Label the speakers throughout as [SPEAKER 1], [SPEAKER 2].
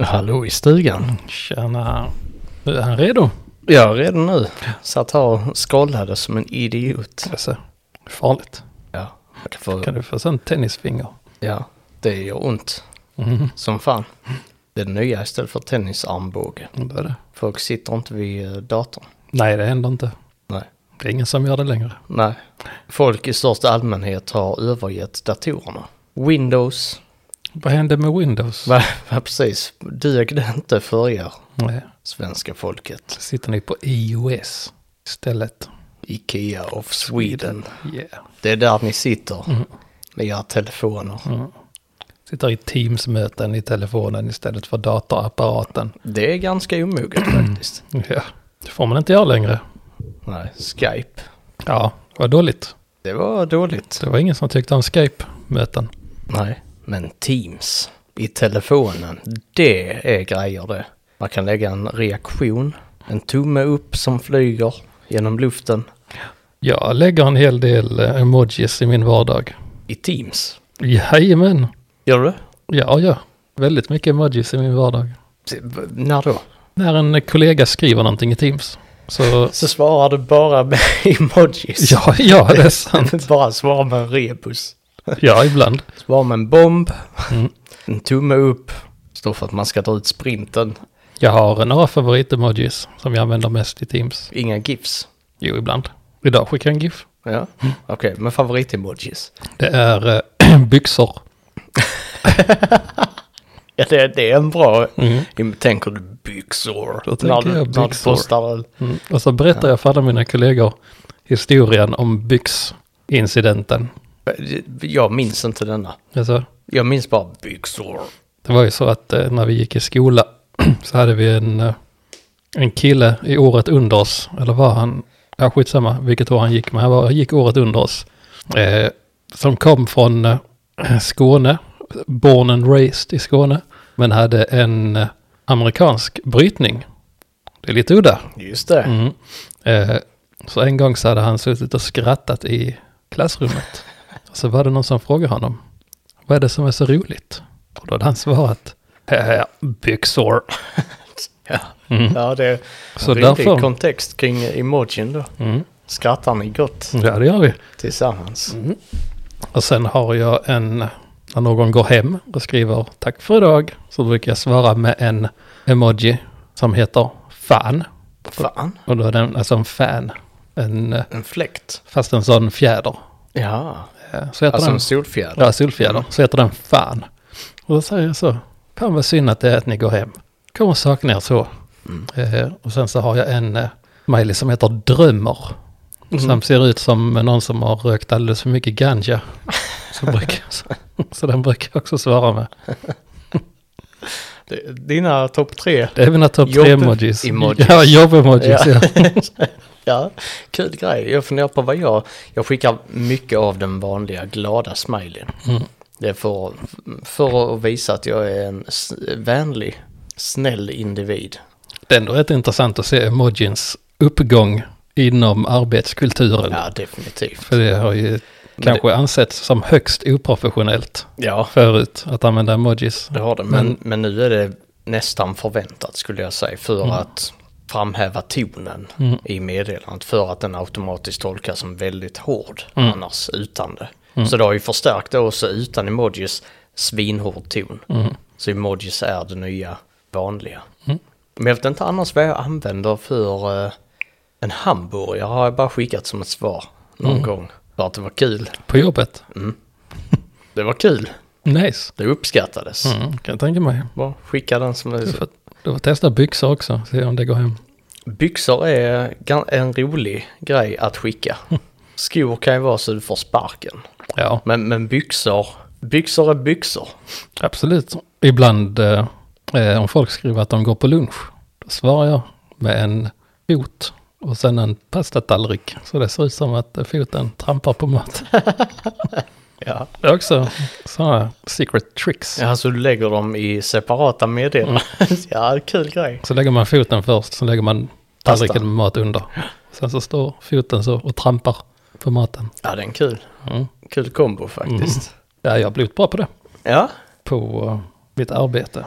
[SPEAKER 1] Hallå i stugan.
[SPEAKER 2] Tjena. Nu är han redo.
[SPEAKER 1] Jag är redan nu. Satt här och skrollade som en idiot.
[SPEAKER 2] Jag ser. Alltså, Farligt.
[SPEAKER 1] Ja, det, får,
[SPEAKER 2] Kan du få sån tennisfinger?
[SPEAKER 1] ja, det gör ont
[SPEAKER 2] Mhm.
[SPEAKER 1] som fan. Det är det nya istället för tennisarmbåge.
[SPEAKER 2] Det är det.
[SPEAKER 1] Folk sitter inte vid eh, datorn.
[SPEAKER 2] Nej, det händer inte.
[SPEAKER 1] Nej.
[SPEAKER 2] Det är ingen som gör det längre.
[SPEAKER 1] Nej. Folk i största allmänhet har övergett datorerna. Windows.
[SPEAKER 2] Vad hände med Windows?
[SPEAKER 1] Va, va, precis. Dög det inte för er,
[SPEAKER 2] Nej.
[SPEAKER 1] svenska folket?
[SPEAKER 2] Sitter ni på iOS istället?
[SPEAKER 1] Ikea of Sweden.
[SPEAKER 2] Yeah.
[SPEAKER 1] Det är där ni sitter.
[SPEAKER 2] Mm.
[SPEAKER 1] Med era telefoner.
[SPEAKER 2] Sitter i Teams-möten i telefonen istället för datarapparaten.
[SPEAKER 1] Det är ganska omoget faktiskt.
[SPEAKER 2] Ja. Det får man inte göra längre.
[SPEAKER 1] Nej, Skype.
[SPEAKER 2] Ja, vad dåligt.
[SPEAKER 1] Det var dåligt.
[SPEAKER 2] Det var ingen som tyckte om Skype-möten.
[SPEAKER 1] Nej, men Teams i telefonen, det är grejer det. Man kan lägga en reaktion, en tumme upp som flyger genom luften
[SPEAKER 2] Jag lägger en hel del eh, emojis i min vardag.
[SPEAKER 1] i Teams.
[SPEAKER 2] Jajamän.
[SPEAKER 1] Gör du?
[SPEAKER 2] Ja, ja. Väldigt mycket emojis i min vardag.
[SPEAKER 1] Det- v- När då?
[SPEAKER 2] När en kollega skriver någonting i Teams så...
[SPEAKER 1] Så svarar du bara med emojis.
[SPEAKER 2] Ja, ja, det är sant.
[SPEAKER 1] bara svarar med en rebus.
[SPEAKER 2] Ja, ibland.
[SPEAKER 1] Svarar med en bomb,
[SPEAKER 2] Mm.
[SPEAKER 1] en tumme upp. Står för att man ska dra ut sprinten.
[SPEAKER 2] Jag har några favorit-emojis som jag använder mest i Teams.
[SPEAKER 1] Inga GIFs.
[SPEAKER 2] Jo, ibland. Idag skickar jag en GIF.
[SPEAKER 1] Ja, okej, men favorit-emojis.
[SPEAKER 2] Det är eh, byxor.
[SPEAKER 1] Ja, det, det är en bra
[SPEAKER 2] Mm.
[SPEAKER 1] Tänker du byxor?
[SPEAKER 2] Då tänker
[SPEAKER 1] när du,
[SPEAKER 2] jag
[SPEAKER 1] När du
[SPEAKER 2] byxor.
[SPEAKER 1] postar den.
[SPEAKER 2] Mm. Och så berättar jag för alla mina kollegor historien om byxincidenten.
[SPEAKER 1] Jag minns inte denna.
[SPEAKER 2] Alltså,
[SPEAKER 1] Jag minns bara byxor.
[SPEAKER 2] Det var ju så att eh, när vi gick i skola så hade vi en, eh, en kille i året under oss, eller var han, ja skitsamma vilket år han gick, men han var, gick året under oss, eh, som kom från eh, Skåne, born and raised i Skåne, men hade en eh, amerikansk brytning. Det är lite udda.
[SPEAKER 1] Just det.
[SPEAKER 2] Mm. Eh, så en gång så hade han suttit och skrattat i klassrummet. Och så var det någon som frågade honom, vad är det som är så roligt? Och då hade han svarat, "Eh, byxor.
[SPEAKER 1] Ja.
[SPEAKER 2] Mm.
[SPEAKER 1] ja, det är
[SPEAKER 2] Så
[SPEAKER 1] en rimlig
[SPEAKER 2] därför-
[SPEAKER 1] kontext kring emojin då.
[SPEAKER 2] Mm.
[SPEAKER 1] Skrattar ni gott
[SPEAKER 2] Ja, det gör vi.
[SPEAKER 1] tillsammans?
[SPEAKER 2] Och sen har jag en, när någon går hem och skriver tack för idag, så brukar jag svara med en emoji som heter fan.
[SPEAKER 1] Fan,
[SPEAKER 2] Och då är den alltså en fan, en, eh,
[SPEAKER 1] en fläkt.
[SPEAKER 2] fast en sån fjäder.
[SPEAKER 1] Ja,
[SPEAKER 2] Eh, Så heter
[SPEAKER 1] alltså
[SPEAKER 2] den
[SPEAKER 1] en solfjäder.
[SPEAKER 2] Ja, solfjäder. Så heter den fan. Och då säger jag så. Fan vad synd att det är att ni går hem. Kommer att sakna er så. Eh, och sen så har jag en eh, Miley som heter Drömmer.
[SPEAKER 1] Mm.
[SPEAKER 2] Som ser ut som någon som har rökt alldeles för mycket ganja. Så, brukar, så, så den brukar jag också svara med.
[SPEAKER 1] Det- Dina topp tre.
[SPEAKER 2] Det är mina topp
[SPEAKER 1] Jobb-
[SPEAKER 2] tre emojis.
[SPEAKER 1] emojis.
[SPEAKER 2] Ja, jobb-emojis. Ja.
[SPEAKER 1] ja, kul grej. Jag funderar på vad jag... Jag skickar mycket av den vanliga glada smileyn. Det är för, för att visa att jag är en s- vänlig, snäll individ.
[SPEAKER 2] Det är ändå rätt intressant att se emojins uppgång inom arbetskulturen.
[SPEAKER 1] Ja, definitivt.
[SPEAKER 2] För det har ju kanske ansetts som högst oprofessionellt.
[SPEAKER 1] Ja,
[SPEAKER 2] förut att använda emojis.
[SPEAKER 1] det har det. Men, men nu är det nästan förväntat skulle jag säga för att framhäva tonen i meddelandet för att den automatiskt tolkas som väldigt hård annars utan det. Så det har ju förstärkt det också utan emojis svinhård ton. Så emojis är det nya vanliga. Men jag vet inte annars vad jag använder för eh, en hamburgare har jag bara skickat som ett svar någon gång. För att det var kul.
[SPEAKER 2] På jobbet?
[SPEAKER 1] Det var kul.
[SPEAKER 2] Nice.
[SPEAKER 1] Det uppskattades.
[SPEAKER 2] Mm, kan jag tänka mig.
[SPEAKER 1] Bara skicka den som
[SPEAKER 2] Du
[SPEAKER 1] är...
[SPEAKER 2] får, du får testa byxor också, se om det går hem.
[SPEAKER 1] Byxor är gan- en rolig grej att skicka. Skor kan ju vara så du får sparken.
[SPEAKER 2] Ja,
[SPEAKER 1] Men, men byxor, byxor är byxor.
[SPEAKER 2] absolut. Ibland eh, eh, om folk skriver att de går på lunch, då svarar jag med en fot och sen en pastatallrik. Så det ser ut som att eh, foten trampar på mat.
[SPEAKER 1] Ja.
[SPEAKER 2] Det är också sådana secret tricks.
[SPEAKER 1] ja, så du lägger dem i separata meddelanden. ja, kul grej.
[SPEAKER 2] Så lägger man foten först, så lägger man
[SPEAKER 1] Pasta.
[SPEAKER 2] tallriken med mat under. Sen så står foten så och trampar på maten.
[SPEAKER 1] Ja, det är en kul,
[SPEAKER 2] Mm.
[SPEAKER 1] kul kombo faktiskt.
[SPEAKER 2] Ja, jag har blivit bra på det.
[SPEAKER 1] Ja,
[SPEAKER 2] på eh, mitt arbete.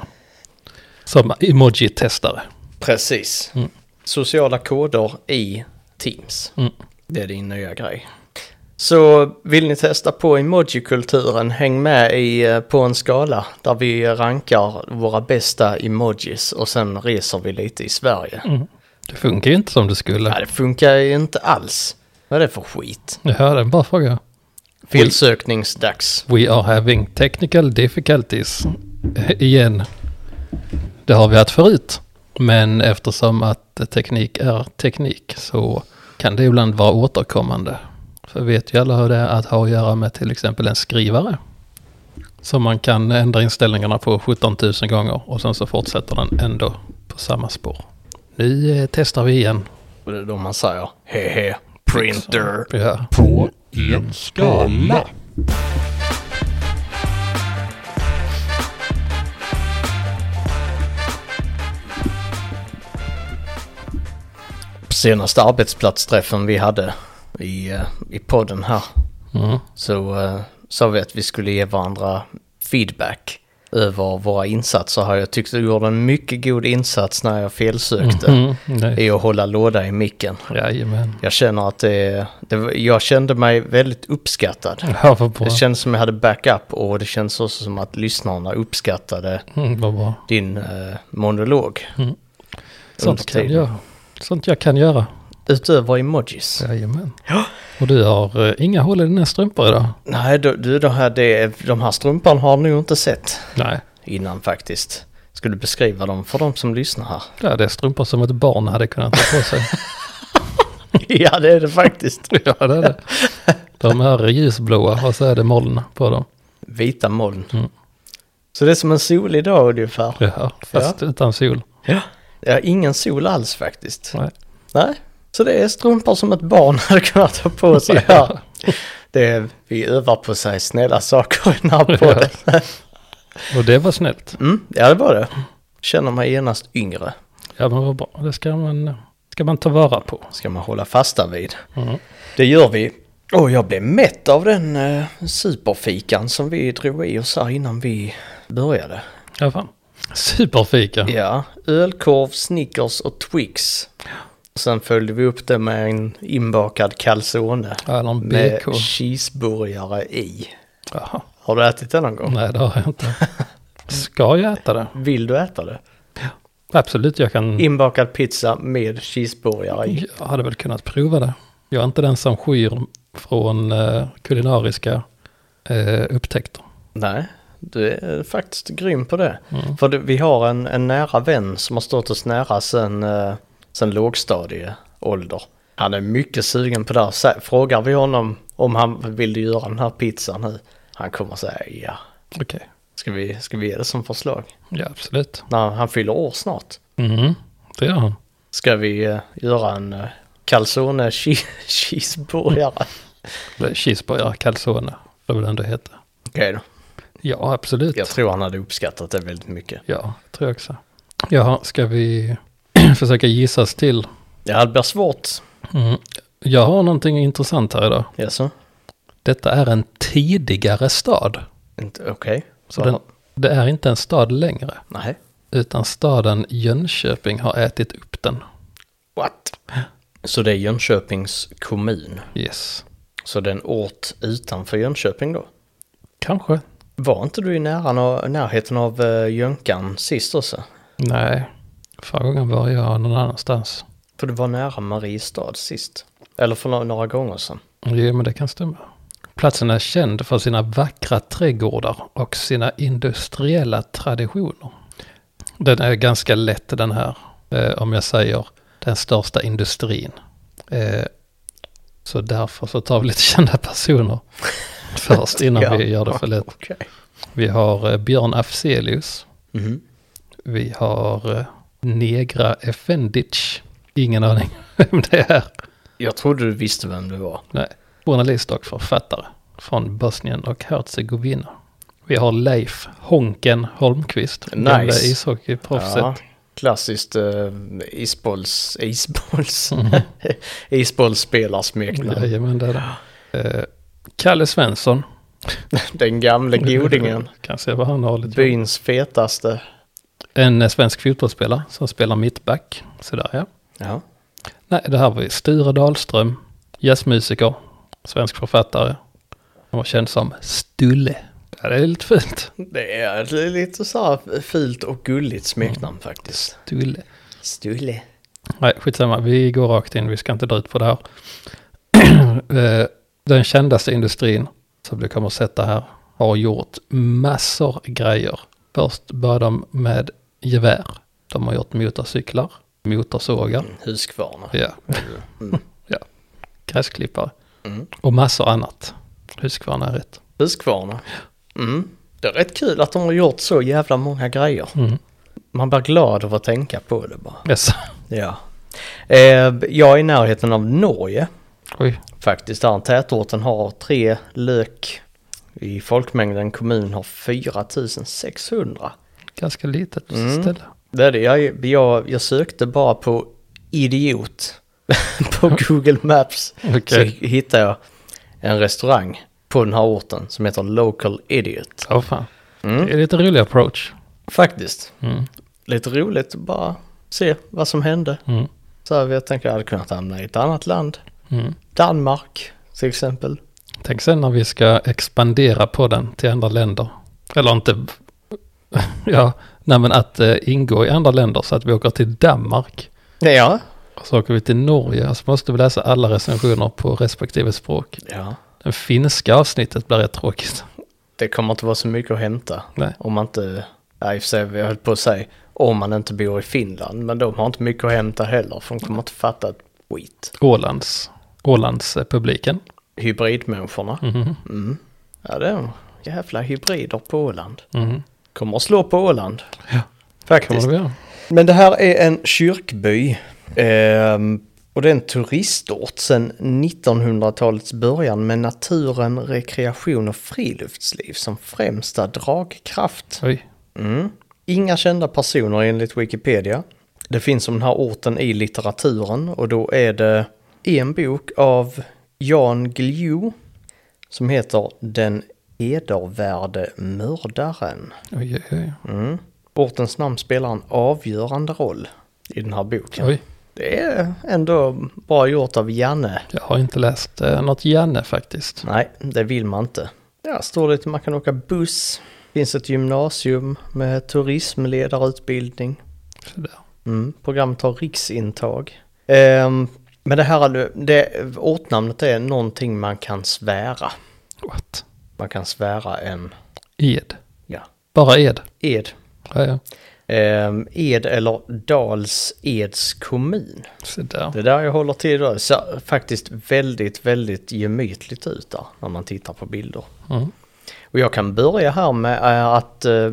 [SPEAKER 2] Som emoji-testare.
[SPEAKER 1] Precis.
[SPEAKER 2] Mm.
[SPEAKER 1] Sociala koder i Teams.
[SPEAKER 2] Mm.
[SPEAKER 1] Det är din nya grej. Så vill ni testa på emojikulturen, häng med i, eh, på en skala där vi rankar våra bästa emojis och sen reser vi lite i Sverige.
[SPEAKER 2] Det funkar ju inte som det skulle.
[SPEAKER 1] Nej, det funkar ju inte alls. Vad är det för skit?
[SPEAKER 2] Jag hörde en bra fråga.
[SPEAKER 1] Filsökningsdags.
[SPEAKER 2] We are having technical difficulties. Igen. Det har vi haft förut. Men eftersom att teknik är teknik så kan det ibland vara återkommande. För vet ju alla hur det är att ha att göra med till exempel en skrivare. Som man kan ändra inställningarna på 17 000 gånger och sen så fortsätter den ändå på samma spår. Nu eh, testar vi igen.
[SPEAKER 1] Och Det är då man säger hehe, printer.
[SPEAKER 2] Ja.
[SPEAKER 3] på en skala.
[SPEAKER 1] På senaste arbetsplatsträffen vi hade i, eh, i podden här
[SPEAKER 2] Mm.
[SPEAKER 1] så eh, sa vi att vi skulle ge varandra feedback över våra insatser här. Jag tyckte du gjorde en mycket god insats när jag felsökte
[SPEAKER 2] Mm. Nej.
[SPEAKER 1] i att hålla låda i micken.
[SPEAKER 2] Jajamän.
[SPEAKER 1] Jag känner att det, det var- jag kände mig väldigt uppskattad.
[SPEAKER 2] Ja, vad bra.
[SPEAKER 1] Det kändes som jag hade backup och det kändes också som att lyssnarna uppskattade
[SPEAKER 2] Mm, vad bra.
[SPEAKER 1] din eh, monolog.
[SPEAKER 2] Mm.
[SPEAKER 1] under
[SPEAKER 2] Sånt kan
[SPEAKER 1] tiden.
[SPEAKER 2] jag, sånt jag kan göra.
[SPEAKER 1] Utöver emojis.
[SPEAKER 2] Jajamän. Och du har eh, inga hål i dina strumpor idag?
[SPEAKER 1] Nej, du, du de, här, det, de här strumpan har ni ju inte sett
[SPEAKER 2] Nej.
[SPEAKER 1] innan faktiskt. Ska du beskriva dem för de som lyssnar här?
[SPEAKER 2] Ja, det är strumpor som ett barn hade kunnat ta på sig.
[SPEAKER 1] ja, det är det faktiskt.
[SPEAKER 2] ja, det är det. De är ljusblåa och så är det moln på dem.
[SPEAKER 1] Vita moln.
[SPEAKER 2] Mm.
[SPEAKER 1] Så det är som en solig dag ungefär.
[SPEAKER 2] Ja, fast utan sol.
[SPEAKER 1] Ja. ja, ingen sol alls faktiskt.
[SPEAKER 2] Nej.
[SPEAKER 1] Nej, så det är strumpor som ett barn hade kunnat ta på sig här. Det är, vi övar på sig snälla saker i den här podden.
[SPEAKER 2] Och det var snällt.
[SPEAKER 1] Mm, ja, det var det. Känner mig genast yngre.
[SPEAKER 2] Ja, men vad bra. Det ska man, ska man ta vara på.
[SPEAKER 1] Ska man hålla fasta vid.
[SPEAKER 2] Mm.
[SPEAKER 1] Det gör vi. Och jag blev mätt av den eh, superfikan som vi drog i oss här innan vi började.
[SPEAKER 2] Ja, fan. Superfika.
[SPEAKER 1] Ja, ölkorv, Snickers och Twix. Och sen följde vi upp det med en inbakad calzone.
[SPEAKER 2] Eller en
[SPEAKER 1] Med
[SPEAKER 2] BK.
[SPEAKER 1] cheeseburgare i.
[SPEAKER 2] Jaha.
[SPEAKER 1] Har du ätit det någon gång?
[SPEAKER 2] Nej, det har jag inte. Ska jag äta det?
[SPEAKER 1] Vill du äta det?
[SPEAKER 2] Absolut, jag kan.
[SPEAKER 1] Inbakad pizza med cheeseburgare i.
[SPEAKER 2] Jag hade väl kunnat prova det. Jag är inte den som skyr från eh, kulinariska eh, upptäckter.
[SPEAKER 1] Nej, du är faktiskt grym på det. För du, vi har en, en nära vän som har stått oss nära sen, eh, sen lågstadieålder. Han är mycket sugen på det här. Sä- Frågar vi honom om han vill göra den här pizzan nu. Han kommer säga ja.
[SPEAKER 2] Okej.
[SPEAKER 1] Ska vi, ska vi ge det som förslag?
[SPEAKER 2] Ja, absolut.
[SPEAKER 1] När han fyller år snart.
[SPEAKER 2] Mhm, Det gör han.
[SPEAKER 1] Ska vi eh, göra en eh, calzone che- cheeseburgare?
[SPEAKER 2] Eller Cheeseburgare calzone, det vill ändå heta.
[SPEAKER 1] Okej då.
[SPEAKER 2] Ja, absolut.
[SPEAKER 1] Jag tror han hade uppskattat det väldigt mycket.
[SPEAKER 2] Ja, tror jag också. Jaha, ska vi försöka gissas till?
[SPEAKER 1] Ja, det blir svårt.
[SPEAKER 2] Mm. Jag har någonting intressant här idag.
[SPEAKER 1] Jaså?
[SPEAKER 2] Detta är en tidigare stad.
[SPEAKER 1] Inte Okej.
[SPEAKER 2] Så
[SPEAKER 1] Vad-
[SPEAKER 2] den, det är inte en stad längre,
[SPEAKER 1] Nej.
[SPEAKER 2] utan staden Jönköping har ätit upp den.
[SPEAKER 1] What? Så det är Jönköpings kommun.
[SPEAKER 2] Yes.
[SPEAKER 1] Så det är en ort utanför Jönköping då.
[SPEAKER 2] Kanske.
[SPEAKER 1] Var inte du i nära, närheten av eh, Jönkan sist också?
[SPEAKER 2] Nej, förra gången var jag någon annanstans.
[SPEAKER 1] För du var nära Mariestad sist. Eller för no- några gånger sedan.
[SPEAKER 2] Jo, men det kan stämma. Platsen är känd för sina vackra trädgårdar och sina industriella traditioner. Den är ganska lätt den här, eh, om jag säger den största industrin. Eh, så därför så tar vi lite kända personer först innan
[SPEAKER 1] Ja.
[SPEAKER 2] vi gör det för lätt.
[SPEAKER 1] Okej.
[SPEAKER 2] Vi har eh, Björn Afzelius.
[SPEAKER 1] Mhm.
[SPEAKER 2] Vi har eh, Negra Effendic. Ingen aning vem det är.
[SPEAKER 1] Jag trodde du visste vem du var.
[SPEAKER 2] Nej. Journalist och författare från Bosnien och Herzegovina. Vi har Leif Honken Holmqvist.
[SPEAKER 1] Nice.
[SPEAKER 2] gamla ishockeyproffset.
[SPEAKER 1] Ja, klassiskt eh, isbolls... Isbolls... Isbollsspelarsmeknamn.
[SPEAKER 2] Mm. Jajamän, det är det. Eh, Kalle Svensson.
[SPEAKER 1] Den gamle godingen.
[SPEAKER 2] Kan se vad han har hållit på.
[SPEAKER 1] Byns fetaste.
[SPEAKER 2] En eh, svensk fotbollsspelare som spelar mittback. Sådär ja.
[SPEAKER 1] Ja.
[SPEAKER 2] Nej, det här var ju Sture Dahlström, jazzmusiker, svensk författare. Han var känd som Stulle. Ja, det är lite fint.
[SPEAKER 1] Det är ett lite så här fult och gulligt smeknamn faktiskt.
[SPEAKER 2] Stulle.
[SPEAKER 1] Mm. Stulle.
[SPEAKER 2] Nej, skitsamma. Vi går rakt in. Vi ska inte dra ut på det här. Eh, Den kändaste industrin som du kommer att sätta här har gjort massor grejer. Först började de med gevär. De har gjort motorcyklar, motorsågar,
[SPEAKER 1] Mm, Huskvarna.
[SPEAKER 2] ja. ja. gräsklippare
[SPEAKER 1] Mm.
[SPEAKER 2] och massor annat. Husqvarna är rätt.
[SPEAKER 1] Huskvarna. Mm. Det är rätt kul att de har gjort så jävla många grejer.
[SPEAKER 2] Mm.
[SPEAKER 1] Man blir glad av att tänka på det bara.
[SPEAKER 2] Yes.
[SPEAKER 1] Ja. Eh, jag är i närheten av Norge
[SPEAKER 2] Oj.
[SPEAKER 1] faktiskt. Där tätorten har tre lök. I folkmängden kommun har 4600.
[SPEAKER 2] Ganska litet
[SPEAKER 1] Mm.
[SPEAKER 2] ställe.
[SPEAKER 1] Det är det. Jag, jag, jag sökte bara på idiot på Google Maps.
[SPEAKER 2] Okej.
[SPEAKER 1] Så hittade jag en restaurang på den här orten som heter Local Idiot.
[SPEAKER 2] Ja, fan.
[SPEAKER 1] Mm.
[SPEAKER 2] Det är lite rolig approach.
[SPEAKER 1] Faktiskt.
[SPEAKER 2] Mm.
[SPEAKER 1] Lite roligt att bara se vad som hände.
[SPEAKER 2] Mm.
[SPEAKER 1] Så här, jag tänker jag hade kunnat hamna i ett annat land.
[SPEAKER 2] Mm.
[SPEAKER 1] Danmark till exempel.
[SPEAKER 2] Tänk sen när vi ska expandera podden till andra länder. Eller inte... Ja, nej men att eh, ingå i andra länder så att vi åker till Danmark.
[SPEAKER 1] Ja.
[SPEAKER 2] Och så åker vi till Norge. Så måste vi läsa alla recensioner på respektive språk.
[SPEAKER 1] ja.
[SPEAKER 2] Det finska avsnittet blir rätt tråkigt.
[SPEAKER 1] Det kommer inte vara så mycket att hämta.
[SPEAKER 2] Nej.
[SPEAKER 1] Om man inte, ja, i och för sig, jag höll på att säga, om man inte bor i Finland. Men de har inte mycket att hämta heller för de kommer inte fatta ett skit.
[SPEAKER 2] Ålands. eh, Ålandspubliken.
[SPEAKER 1] Hybridmänniskorna.
[SPEAKER 2] Mhm.
[SPEAKER 1] Mm. Ja, det är de. jävla hybrider på Åland.
[SPEAKER 2] Mhm.
[SPEAKER 1] Kommer att slå på Åland.
[SPEAKER 2] Ja. Kan man
[SPEAKER 1] Faktiskt.
[SPEAKER 2] väl göra.
[SPEAKER 1] Men det här är en kyrkby. ehm, och det är en turistort sedan 1900-talets början med naturen, rekreation och friluftsliv som främsta dragkraft.
[SPEAKER 2] Oj.
[SPEAKER 1] Mm. Inga kända personer enligt Wikipedia. Det finns om den här orten i litteraturen och då är det en bok av Jan Guillou som heter Den edervärde mördaren.
[SPEAKER 2] Oj, oj, oj.
[SPEAKER 1] Mm. Ortens namn spelar en avgörande roll i den här boken.
[SPEAKER 2] oj.
[SPEAKER 1] Det är ändå bra gjort av Janne.
[SPEAKER 2] Jag har inte läst eh, något Janne faktiskt.
[SPEAKER 1] Nej, det vill man inte. Där står lite, man kan åka buss. Finns ett gymnasium med turismledarutbildning.
[SPEAKER 2] Sådär.
[SPEAKER 1] Mm. Programmet har riksintag. Ehm, men det här, är ju- det, ortnamnet är någonting man kan svära.
[SPEAKER 2] What?
[SPEAKER 1] Man kan svära en,
[SPEAKER 2] Ed.
[SPEAKER 1] ja,
[SPEAKER 2] Bara Ed.
[SPEAKER 1] ed.
[SPEAKER 2] Ja, ja.
[SPEAKER 1] Ehm, ed eller Dals Eds kommun.
[SPEAKER 2] Så där.
[SPEAKER 1] Det där jag håller till idag det ser faktiskt väldigt, väldigt gemytligt ut där när man tittar på bilder.
[SPEAKER 2] Mm.
[SPEAKER 1] Och jag kan börja här med eh, att eh,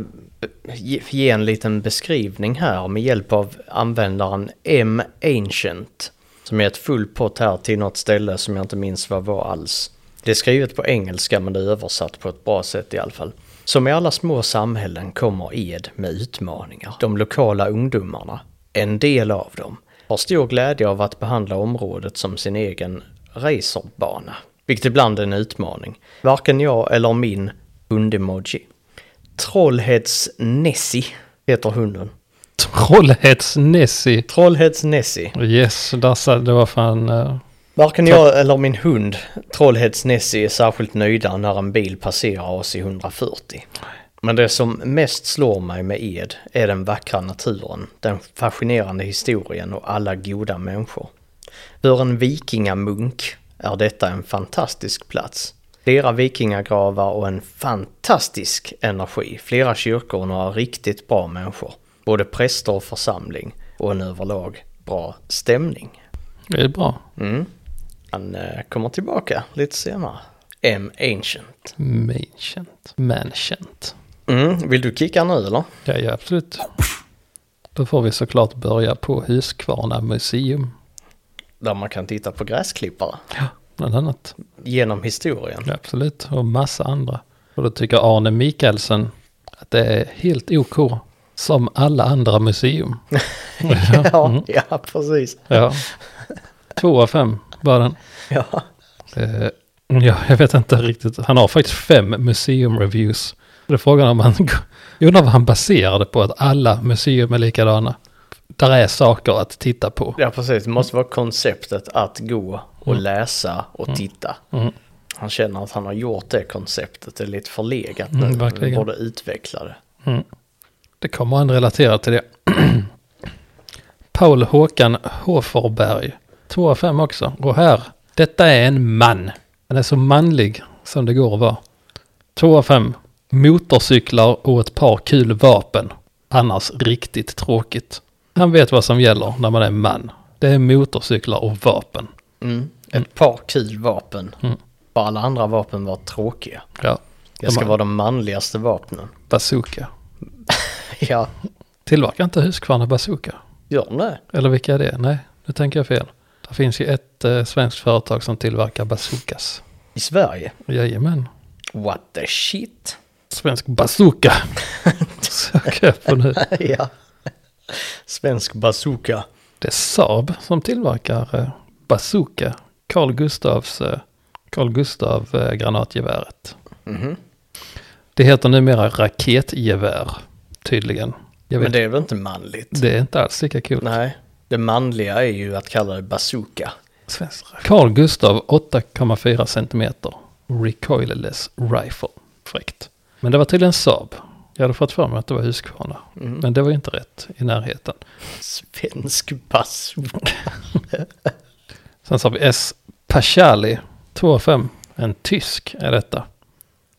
[SPEAKER 1] ge ge en liten beskrivning här med hjälp av användaren M Ancient. Som är ett full pott här till något ställe som jag inte minns vad var alls. Det är skrivet på engelska men det är översatt på ett bra sätt i alla fall. Som i alla små samhällen kommer Ed med utmaningar. De lokala ungdomarna, en del av dem, har stor glädje av att behandla området som sin egen racerbana. Vilket ibland är en utmaning. Varken jag eller min hundemoji. Trollhätts Nessie heter hunden.
[SPEAKER 2] Trollhätts-Nessie.
[SPEAKER 1] Trollhätts Nessie.
[SPEAKER 2] Yes, där sa, det var fan... eh,
[SPEAKER 1] Varken jag eller min hund Trollhätts Nessie är särskilt nöjda när en bil passerar oss i 140. Men det som mest slår mig med Ed är den vackra naturen, den fascinerande historien och alla goda människor. För en vikingamunk är detta en fantastisk plats. Flera vikingagravar och en fantastisk energi, flera kyrkor och några riktigt bra människor. Både präster och församling och en överlag bra stämning.
[SPEAKER 2] det är bra.
[SPEAKER 1] Mm. Han eh, kommer tillbaka lite senare. M Ancient.
[SPEAKER 2] Mancient. Mancient.
[SPEAKER 1] Mm. Vill du kicka nu eller?
[SPEAKER 2] Ja, ja, absolut. Då får vi såklart börja på Huskvarna museum.
[SPEAKER 1] Där man kan titta på gräsklippare.
[SPEAKER 2] Ja. Bland annat.
[SPEAKER 1] Genom historien.
[SPEAKER 2] Ja, absolut. Och massa andra. Och då tycker Arne Mikaelsen att det är helt OK. Som alla andra museum.
[SPEAKER 1] ja, Mm. ja, precis.
[SPEAKER 2] Ja. Två av fem var den.
[SPEAKER 1] Ja.
[SPEAKER 2] Eh, ja, jag vet inte riktigt. Han har faktiskt fem museum reviews. Det är frågan om han... Jag undrar vad han baserade på att alla museum är likadana. Där är saker att titta på.
[SPEAKER 1] Ja, precis. Det måste vara konceptet att gå och läsa och titta.
[SPEAKER 2] Mm.
[SPEAKER 1] Han känner att han har gjort det konceptet. Det är lite förlegat
[SPEAKER 2] Mm,
[SPEAKER 1] nu.
[SPEAKER 2] verkligen.
[SPEAKER 1] borde utveckla det.
[SPEAKER 2] Det kommer han relatera till det. Paul Håkan Hoferberg. 2 av 5 också. Och här. Detta är en man. Han är så manlig som det går att vara. 2 av 5. Motorcyklar och ett par kul vapen. Annars riktigt tråkigt. Han vet vad som gäller när man är man. Det är motorcyklar och vapen.
[SPEAKER 1] Mm. Ett par kul vapen.
[SPEAKER 2] Mm.
[SPEAKER 1] Bara alla andra vapen var tråkiga.
[SPEAKER 2] Ja.
[SPEAKER 1] Det ska
[SPEAKER 2] De-
[SPEAKER 1] vara de manligaste vapnen.
[SPEAKER 2] Bazooka.
[SPEAKER 1] Ja,
[SPEAKER 2] Tillverkar inte Husqvarna bazooka?
[SPEAKER 1] gör det.
[SPEAKER 2] Eller vilka är det? Nej, nu tänker jag fel. Det finns ju ett eh, svenskt företag som tillverkar bazookas.
[SPEAKER 1] I Sverige.
[SPEAKER 2] Jajamän.
[SPEAKER 1] What the shit?
[SPEAKER 2] Svensk bazooka. Söker jag på nu.
[SPEAKER 1] ja. Svensk bazooka.
[SPEAKER 2] Det är Saab som tillverkar eh, bazooka. Carl Gustavs eh, Carl Gustav eh, granatgeväret.
[SPEAKER 1] Mhm.
[SPEAKER 2] Det heter numera raketgevär tydligen. Jag vet,
[SPEAKER 1] Men
[SPEAKER 2] det...
[SPEAKER 1] det är väl inte manligt?
[SPEAKER 2] det är inte alls lika kul.
[SPEAKER 1] Nej. Det manliga är ju att kalla det bazooka.
[SPEAKER 2] Svensk rak- Carl Gustav 8,4 centimeter recoilless rifle. Fräckt. Men det var tydligen Saab. Jag hade fått för mig att det var Husqvarna.
[SPEAKER 1] Mm.
[SPEAKER 2] Men det var ju inte rätt i närheten.
[SPEAKER 1] Svensk bazooka.
[SPEAKER 2] Sen så har vi S. Pashali 2,5. En tysk är detta.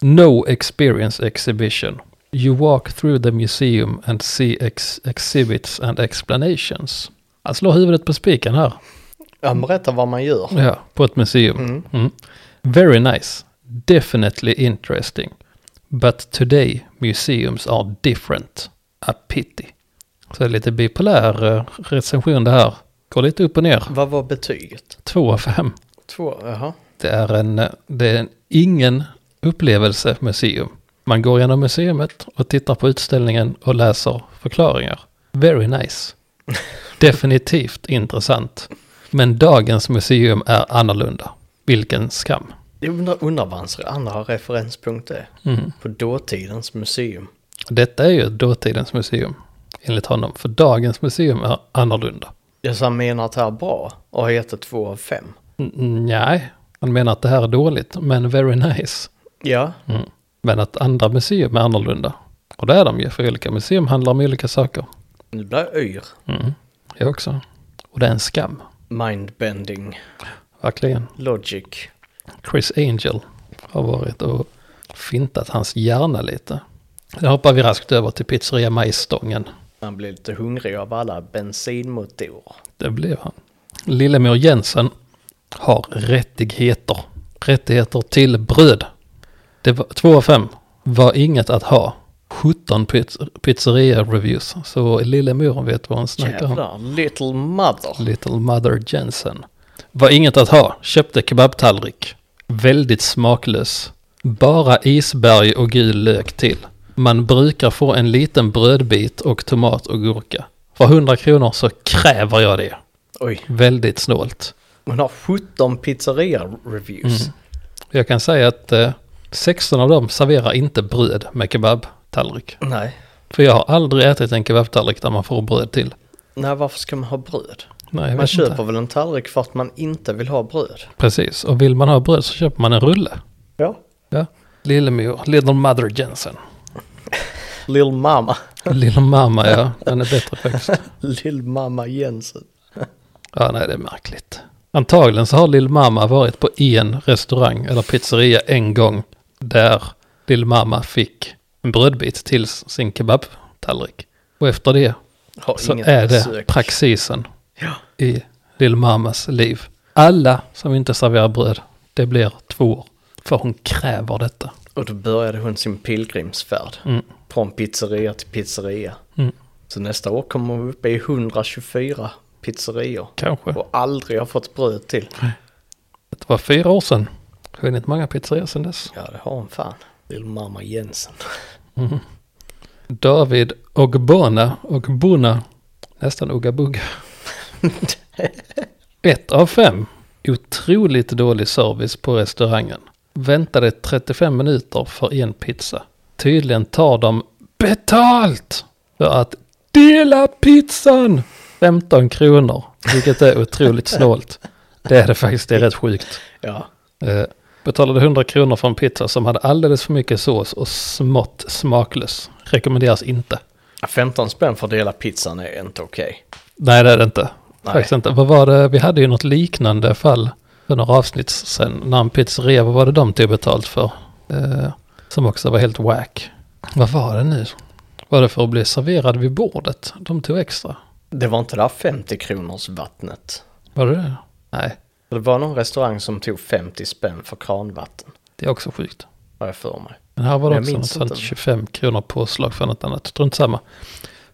[SPEAKER 2] No experience exhibition. You walk through the museum and see ex- exhibits and explanations. Han slår huvudet på spiken här.
[SPEAKER 1] Han berättar vad man gör.
[SPEAKER 2] Ja, på ett museum. Mm. Very nice. Definitely interesting. But today museums are different. A pity. Så det är lite bipolär eh, recension det här. Går lite upp och ner.
[SPEAKER 1] Vad var betyget?
[SPEAKER 2] Två av fem.
[SPEAKER 1] Två, jaha.
[SPEAKER 2] Det är en, eh, det är en ingen upplevelse museum. Man går genom museet och tittar på utställningen och läser förklaringar. Very nice. Definitivt intressant. Men dagens museum är annorlunda. Vilken skam.
[SPEAKER 1] Jag undrar, undrar vad hans andra referenspunkt är.
[SPEAKER 2] Mm.
[SPEAKER 1] På dåtidens museum.
[SPEAKER 2] Detta är ju dåtidens museum, enligt honom. För dagens museum är annorlunda.
[SPEAKER 1] Jag så han menar att det här är bra och har gett det två av fem.
[SPEAKER 2] Mm, nej, han menar att det här är dåligt, men very nice.
[SPEAKER 1] Ja,
[SPEAKER 2] Mm. Men att andra museum är annorlunda. Och det är de ju, för olika museum handlar om olika saker.
[SPEAKER 1] nu blir jag yr.
[SPEAKER 2] Mm. Jag också. Och det är en skam,
[SPEAKER 1] Mindbending.
[SPEAKER 2] verkligen.
[SPEAKER 1] Logic.
[SPEAKER 2] Chris Angel har varit och fintat hans hjärna lite. Sen hoppar vi raskt över till pizzeria Majstången.
[SPEAKER 1] Man blir lite hungrig av alla bensinmotorer.
[SPEAKER 2] Det blev han. Lillemor Jensen har rättigheter. Rättigheter till bröd. Det var 2 av 5. Var inget att ha. 17 pizz- pizzeria-reviews. Så Lillemor vet vad hon snackar om.
[SPEAKER 1] Jävlar, little mother.
[SPEAKER 2] Little Mother Jensen. Var inget att ha. Köpte kebabtallrik. Väldigt smaklös. Bara isberg och gul lök till. Man brukar få en liten brödbit och tomat och gurka. För 100 kronor så kräver jag det.
[SPEAKER 1] Oj,
[SPEAKER 2] Väldigt snålt.
[SPEAKER 1] hon har 17 pizzeria-reviews.
[SPEAKER 2] Mhm. Jag kan säga att eh, 16 av dem serverar inte bröd med kebabtallrik.
[SPEAKER 1] Nej.
[SPEAKER 2] För jag har aldrig ätit en kebabtallrik där man får bröd till.
[SPEAKER 1] Nej, varför ska man ha bröd?
[SPEAKER 2] Nej, jag
[SPEAKER 1] Man
[SPEAKER 2] vet
[SPEAKER 1] köper
[SPEAKER 2] inte.
[SPEAKER 1] väl en tallrik för att man inte vill ha bröd?
[SPEAKER 2] Precis, och vill man ha bröd så köper man en rulle.
[SPEAKER 1] Ja.
[SPEAKER 2] Ja. Lillemor, Little Mother Jensen.
[SPEAKER 1] Lill mamma.
[SPEAKER 2] Little Mamma, ja. Den är bättre faktiskt.
[SPEAKER 1] Lill mamma Jensen.
[SPEAKER 2] Ja, nej, det är märkligt. Antagligen så har Lill Mamma varit på en restaurang eller pizzeria en gång där Lill Mamma fick en brödbit till sin kebabtallrik. Och efter det
[SPEAKER 1] Har
[SPEAKER 2] så
[SPEAKER 1] inget
[SPEAKER 2] är det
[SPEAKER 1] besök.
[SPEAKER 2] praxisen
[SPEAKER 1] Ja.
[SPEAKER 2] i Lill Mammas liv. Alla som inte serverar bröd, det blir två år. För hon kräver detta.
[SPEAKER 1] Och då började hon sin pilgrimsfärd.
[SPEAKER 2] Mm.
[SPEAKER 1] Från pizzeria till pizzeria.
[SPEAKER 2] Mm.
[SPEAKER 1] Så nästa år kommer hon upp i 124 pizzerior.
[SPEAKER 2] Kanske.
[SPEAKER 1] Och aldrig har fått bröd till.
[SPEAKER 2] Det var fyra år sedan. Hunnit många pizzerior sedan dess.
[SPEAKER 1] Ja, det har hon fan. Lill mamma Jensen.
[SPEAKER 2] David Ogbona Ogbona. Nästan Uggabuga. Ett av fem. Otroligt dålig service på restaurangen. Väntade 35 minuter för en pizza. Tydligen tar de betalt för att dela pizzan. 15 kronor, vilket är otroligt snålt. Det är det faktiskt, det är rätt sjukt.
[SPEAKER 1] Ja.
[SPEAKER 2] Eh, betalade 100 kronor för en pizza som hade alldeles för mycket sås och smått smaklös. Rekommenderas inte.
[SPEAKER 1] 15 spänn för att dela pizzan är inte okej.
[SPEAKER 2] Nej, det är det inte.
[SPEAKER 1] Nej.
[SPEAKER 2] Faktiskt inte. Vad var det? Vi hade ju något liknande fall för några avsnitt sen. När en pizzeria, vad var det de tog betalt för? Eh, som också var helt wack. Vad var det nu? Var det för att bli serverad vid bordet? De tog extra.
[SPEAKER 1] Det var inte det här 50 kronors vattnet.
[SPEAKER 2] Var det det? Nej,
[SPEAKER 1] Det var någon restaurang som tog 50 spänn för kranvatten.
[SPEAKER 2] det är också sjukt.
[SPEAKER 1] Har jag för mig.
[SPEAKER 2] Men här var det
[SPEAKER 1] Jag
[SPEAKER 2] också något
[SPEAKER 1] minns
[SPEAKER 2] sånt
[SPEAKER 1] inte.
[SPEAKER 2] 25 kronor påslag för något annat. Strunt samma.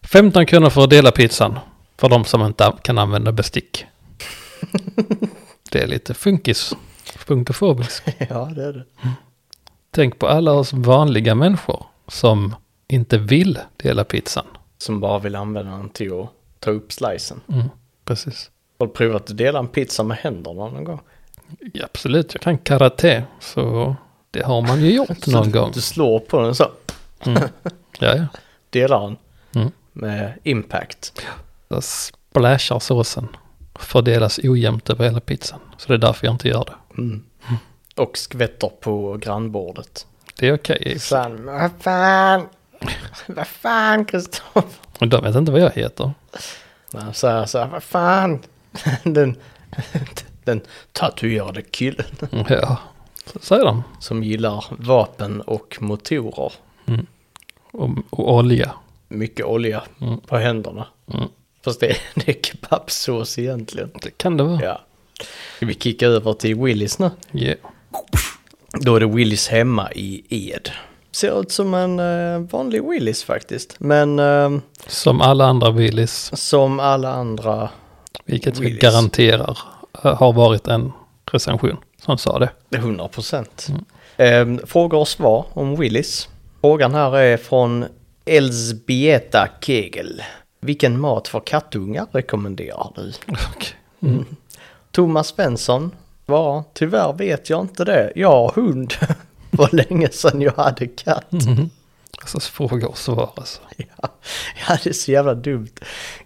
[SPEAKER 2] 15 kronor för att dela pizzan. För de som inte kan använda bestick. det är lite funkis. Funkofobisk.
[SPEAKER 1] ja, det är det.
[SPEAKER 2] Tänk på alla oss vanliga människor som inte vill dela pizzan.
[SPEAKER 1] Som bara vill använda den till att ta upp slicen.
[SPEAKER 2] Precis.
[SPEAKER 1] Har du provat att dela en pizza med händerna någon gång?
[SPEAKER 2] Ja, absolut, jag kan karate, så det har man ju gjort
[SPEAKER 1] Så
[SPEAKER 2] någon
[SPEAKER 1] du,
[SPEAKER 2] gång.
[SPEAKER 1] Du slår på den så.
[SPEAKER 2] Ja, ja.
[SPEAKER 1] Delar den.
[SPEAKER 2] Mm.
[SPEAKER 1] Med impact.
[SPEAKER 2] Där splashar såsen. Fördelas ojämnt över hela pizzan. Så det är därför jag inte gör det.
[SPEAKER 1] Mm. Och skvätter på grannbordet.
[SPEAKER 2] Det är okej.
[SPEAKER 1] Sen, vad fan. Vad fan Kristoffer.
[SPEAKER 2] Men de vet inte vad jag heter.
[SPEAKER 1] När han säger så här, vad fan. Den, den tatuerade killen.
[SPEAKER 2] Ja, så säger de.
[SPEAKER 1] Som gillar vapen och motorer.
[SPEAKER 2] Och, och olja.
[SPEAKER 1] Mycket olja på händerna. Fast det, det är kebabsås egentligen.
[SPEAKER 2] Det kan det vara. Ja.
[SPEAKER 1] Ja. Ska vi kicka över till Willys nu? Då är det Willys hemma i Ed. Ser ut som en eh, vanlig Willys faktiskt. Men eh,
[SPEAKER 2] Som alla andra Willys.
[SPEAKER 1] som alla andra,
[SPEAKER 2] Vilket vi
[SPEAKER 1] Willys.
[SPEAKER 2] garanterar eh, har varit en recension som sa det.
[SPEAKER 1] det är 100 procent. Eh, frågor och svar om Willys. Frågan här är från Elsbieta Kegel. Vilken mat för kattungar rekommenderar du?
[SPEAKER 2] Okej.
[SPEAKER 1] Thomas Svensson svarar, tyvärr vet jag inte det. Jag har hund. Var länge sedan jag hade katt.
[SPEAKER 2] Alltså fråga och svar alltså.
[SPEAKER 1] Ja, ja, det är så jävla dumt.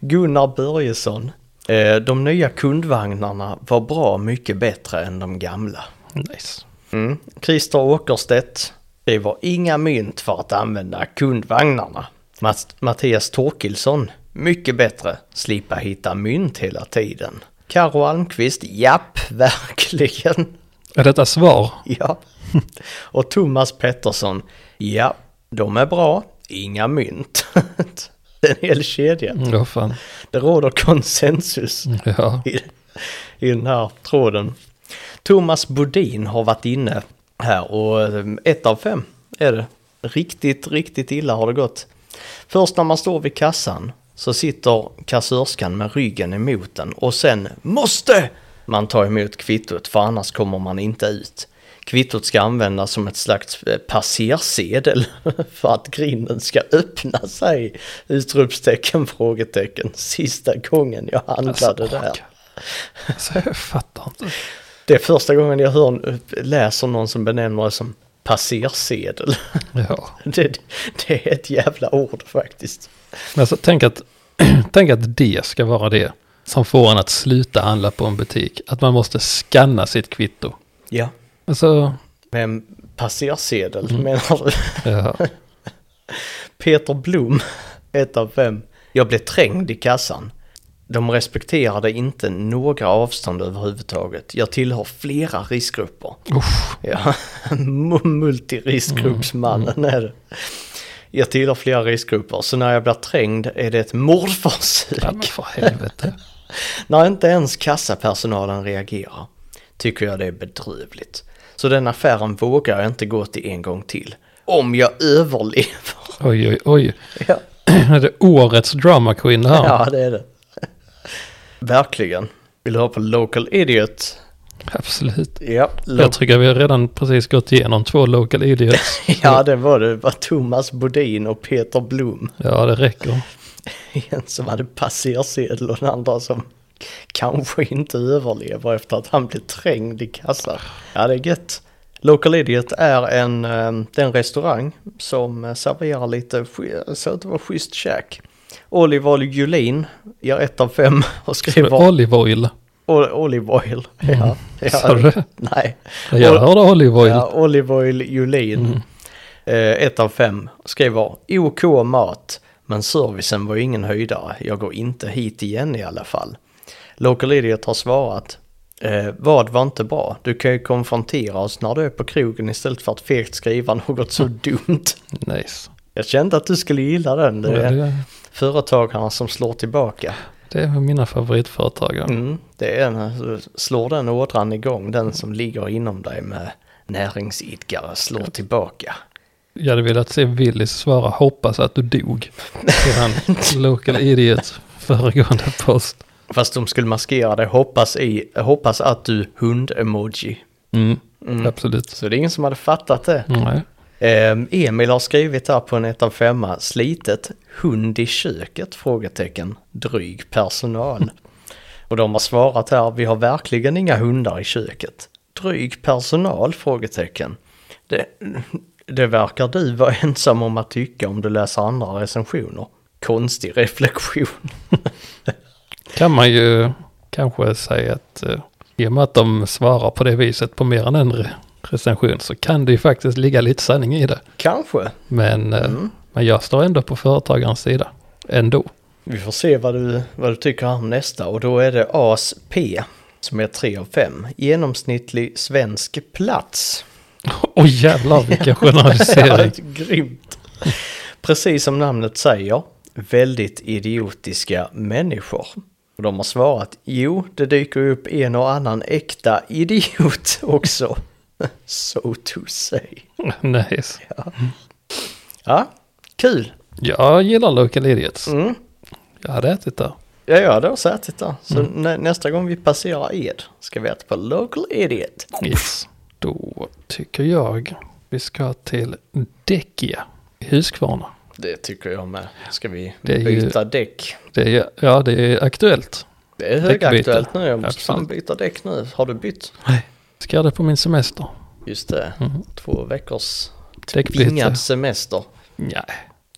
[SPEAKER 1] Gunnar Börjesson. Eh, de nya kundvagnarna var bra mycket bättre än de gamla.
[SPEAKER 2] Nice.
[SPEAKER 1] Mm. Christer Åkerstedt. Det var inga mynt för att använda kundvagnarna. Mats- Mattias Torkilsson. Mycket bättre. Slippa hitta mynt hela tiden. Karo Almqvist. Japp, verkligen.
[SPEAKER 2] Är detta svar?
[SPEAKER 1] Ja. Och Thomas Pettersson. Ja, de är bra. Inga mynt. Det är en hel kedja.
[SPEAKER 2] Ja fan.
[SPEAKER 1] Det råder konsensus
[SPEAKER 2] Ja.
[SPEAKER 1] i, i den här tråden. Thomas Bodin har varit inne här och eh, ett av fem är det. Riktigt, riktigt illa har det gått. Först när man står vid kassan så sitter kassörskan med ryggen emot den och sen måste man ta emot kvittot för annars kommer man inte ut. Kvittot ska användas som ett slags eh, passersedel för att grinden ska öppna sig! Utropstecken, frågetecken. Sista gången jag handlade
[SPEAKER 2] Alltså,
[SPEAKER 1] där.
[SPEAKER 2] ork. Alltså jag fattar inte.
[SPEAKER 1] Det är första gången jag hör, läser någon som benämner det som passersedel.
[SPEAKER 2] Ja.
[SPEAKER 1] Det, det är ett jävla ord faktiskt.
[SPEAKER 2] Men alltså tänk att, tänk att det ska vara det som får en att sluta handla på en butik. Att man måste scanna sitt kvitto.
[SPEAKER 1] Ja.
[SPEAKER 2] Alltså,
[SPEAKER 1] Men passersedel menar du?
[SPEAKER 2] ja.
[SPEAKER 1] Peter Blom, ett av fem. Jag blev trängd i kassan. De respekterade inte några avstånd överhuvudtaget. Jag tillhör flera riskgrupper.
[SPEAKER 2] Usch.
[SPEAKER 1] Ja, multiriskgruppsmannen är det. Jag tillhör flera riskgrupper, så när jag blir trängd är det ett mordförsök.
[SPEAKER 2] Ja, men för helvete.
[SPEAKER 1] När inte ens kassapersonalen reagerar tycker jag det är bedrövligt. Så den affären vågar jag inte gå till en gång till. Om jag överlever.
[SPEAKER 2] Oj, oj, oj.
[SPEAKER 1] Ja,
[SPEAKER 2] Är det årets drama queen det här?
[SPEAKER 1] ja det är det. Verkligen. Vill du höra på Local Idiot?
[SPEAKER 2] Absolut.
[SPEAKER 1] Ja,
[SPEAKER 2] Jag tycker vi har redan precis gått igenom två local idiots.
[SPEAKER 1] ja det var det. Det var Thomas Bodin och Peter Blom.
[SPEAKER 2] Ja, det räcker.
[SPEAKER 1] En som hade passersedel och den andra som kanske inte överlever efter att han blev trängd i kassan. Ja, det är gött. Local Idiot är en, eh, det är en restaurang som eh, serverar lite, sch- så att det var schysst käk. Oliver Julin ger ett av fem och
[SPEAKER 2] Med
[SPEAKER 1] skriver
[SPEAKER 2] olive oil. Mm.
[SPEAKER 1] o- Olive Oil. Ja,
[SPEAKER 2] Sa du
[SPEAKER 1] ja,
[SPEAKER 2] det?
[SPEAKER 1] nej,
[SPEAKER 2] Jag hörde olive oil.
[SPEAKER 1] ja, Olive Oil Julin. Eh, ett av fem skriver OK mat, men servicen var ingen höjdare. Jag går inte hit igen i alla fall. Local Idiot har svarat. Eh, vad var inte bra? Du kan ju konfrontera oss när du är på krogen istället för att fegt skriva något så dumt.
[SPEAKER 2] Nice.
[SPEAKER 1] Jag kände att du skulle gilla den. Det
[SPEAKER 2] Det
[SPEAKER 1] är
[SPEAKER 2] är,
[SPEAKER 1] företagarna som slår tillbaka.
[SPEAKER 2] det är mina favoritföretag. ja.
[SPEAKER 1] Mm, det är när slår den ådran igång, den som ligger inom dig med näringsidkare slår tillbaka.
[SPEAKER 2] Jag hade velat se Willis svara hoppas att du dog. Till han local idiot föregående post.
[SPEAKER 1] Fast de skulle maskera det, hoppas, i, hoppas att du hund-emoji.
[SPEAKER 2] Mm. Absolut.
[SPEAKER 1] Så det är ingen som hade fattat det.
[SPEAKER 2] Nej.
[SPEAKER 1] Ehm, Emil har skrivit här på en 1 av 5 slitet hund i köket? Frågetecken. Dryg personal. Och de har svarat här, vi har verkligen inga hundar i köket. Dryg personal? Frågetecken. Det, det verkar du vara ensam om att tycka om du läser andra recensioner. Konstig reflektion.
[SPEAKER 2] Kan man ju kanske säga att eh, i och med att de svarar på det viset på mer än en re- recension så kan det ju faktiskt ligga lite sanning i det.
[SPEAKER 1] Kanske.
[SPEAKER 2] Men, eh,
[SPEAKER 1] Mm.
[SPEAKER 2] men jag står ändå på företagarens sida. Ändå.
[SPEAKER 1] Vi får se vad du, vad du tycker om nästa och då är det ASP som är 3 av 5. Genomsnittlig svensk plats.
[SPEAKER 2] Åh jävlar vilken
[SPEAKER 1] Ja, det
[SPEAKER 2] generalisering.
[SPEAKER 1] är grymt. Precis som namnet säger, väldigt idiotiska människor. Och de har svarat, jo, det dyker ju upp en och annan äkta idiot också. so to say.
[SPEAKER 2] nice.
[SPEAKER 1] Ja, kul.
[SPEAKER 2] Jag gillar Local Idiots.
[SPEAKER 1] Mm.
[SPEAKER 2] Jag hade ätit där.
[SPEAKER 1] Ja, jag hade också ätit där. Så nä- nästa gång vi passerar Ed ska vi äta på Local Idiot.
[SPEAKER 2] Yes. Då tycker jag vi ska till Däckia i Huskvarna.
[SPEAKER 1] Det tycker jag med. Ska vi
[SPEAKER 2] Det är ju-
[SPEAKER 1] byta däck?
[SPEAKER 2] Det är, ja, det är aktuellt.
[SPEAKER 1] Det är
[SPEAKER 2] Däckbyte.
[SPEAKER 1] högaktuellt nu. Jag måste fan
[SPEAKER 2] Absolut.
[SPEAKER 1] byta däck nu. Har du bytt?
[SPEAKER 2] Ska det på min semester?
[SPEAKER 1] Just det.
[SPEAKER 2] Mm-hmm.
[SPEAKER 1] Två veckors
[SPEAKER 2] Däckbyte?
[SPEAKER 1] tvingad semester.
[SPEAKER 2] Nej.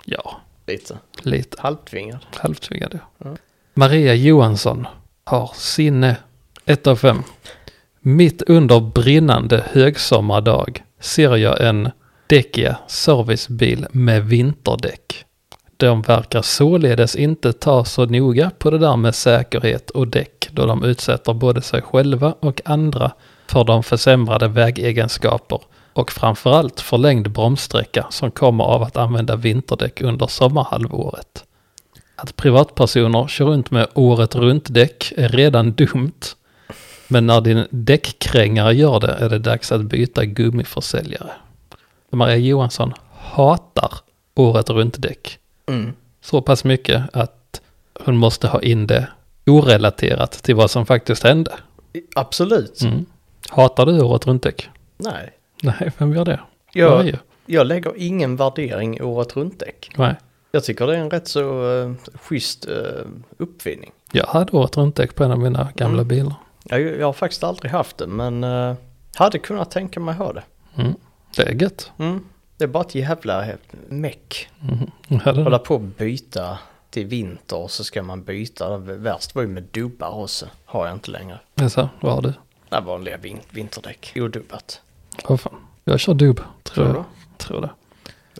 [SPEAKER 2] Ja,
[SPEAKER 1] Lite.
[SPEAKER 2] lite.
[SPEAKER 1] Halvtvingad.
[SPEAKER 2] Halvtvingad ja. Maria Johansson har sinne 1 av 5. Mitt under brinnande högsommardag ser jag en Däckia servicebil med vinterdäck. De verkar således inte ta så noga på det där med säkerhet och däck då de utsätter både sig själva och andra för de försämrade vägegenskaper och framförallt förlängd bromssträcka som kommer av att använda vinterdäck under sommarhalvåret. Att privatpersoner kör runt med året runt-däck är redan dumt. Men när din däckkrängare gör det är det dags att byta gummiförsäljare. Maria Johansson hatar året runt-däck
[SPEAKER 1] Mm.
[SPEAKER 2] så pass mycket att hon måste ha in det orelaterat till vad som faktiskt hände.
[SPEAKER 1] Absolut.
[SPEAKER 2] Mm. Hatar du året runt-däck?
[SPEAKER 1] Nej.
[SPEAKER 2] Nej, vem gör det?
[SPEAKER 1] Jag,
[SPEAKER 2] ju.
[SPEAKER 1] jag lägger ingen värdering i året runt däck.
[SPEAKER 2] Nej.
[SPEAKER 1] Jag tycker det är en rätt så uh, schysst eh, uppfinning.
[SPEAKER 2] Jag hade året runt-däck på en av mina gamla bilar.
[SPEAKER 1] Jag, jag har faktiskt aldrig haft det men eh, hade kunnat tänka mig ha det.
[SPEAKER 2] Mm. Det är gött.
[SPEAKER 1] Mm. Det är bara ett jävla meck.
[SPEAKER 2] Jag hade det.
[SPEAKER 1] hålla på och byta till vinter och så ska man byta. Det Värst var ju med dubbar också. Har jag inte längre.
[SPEAKER 2] Jaså, vad har du?
[SPEAKER 1] Nej, vanliga vin- vinterdäck. Odubbat.
[SPEAKER 2] Vad fan. Jag kör dubb, tror,
[SPEAKER 1] Tror
[SPEAKER 2] jag. Tror det.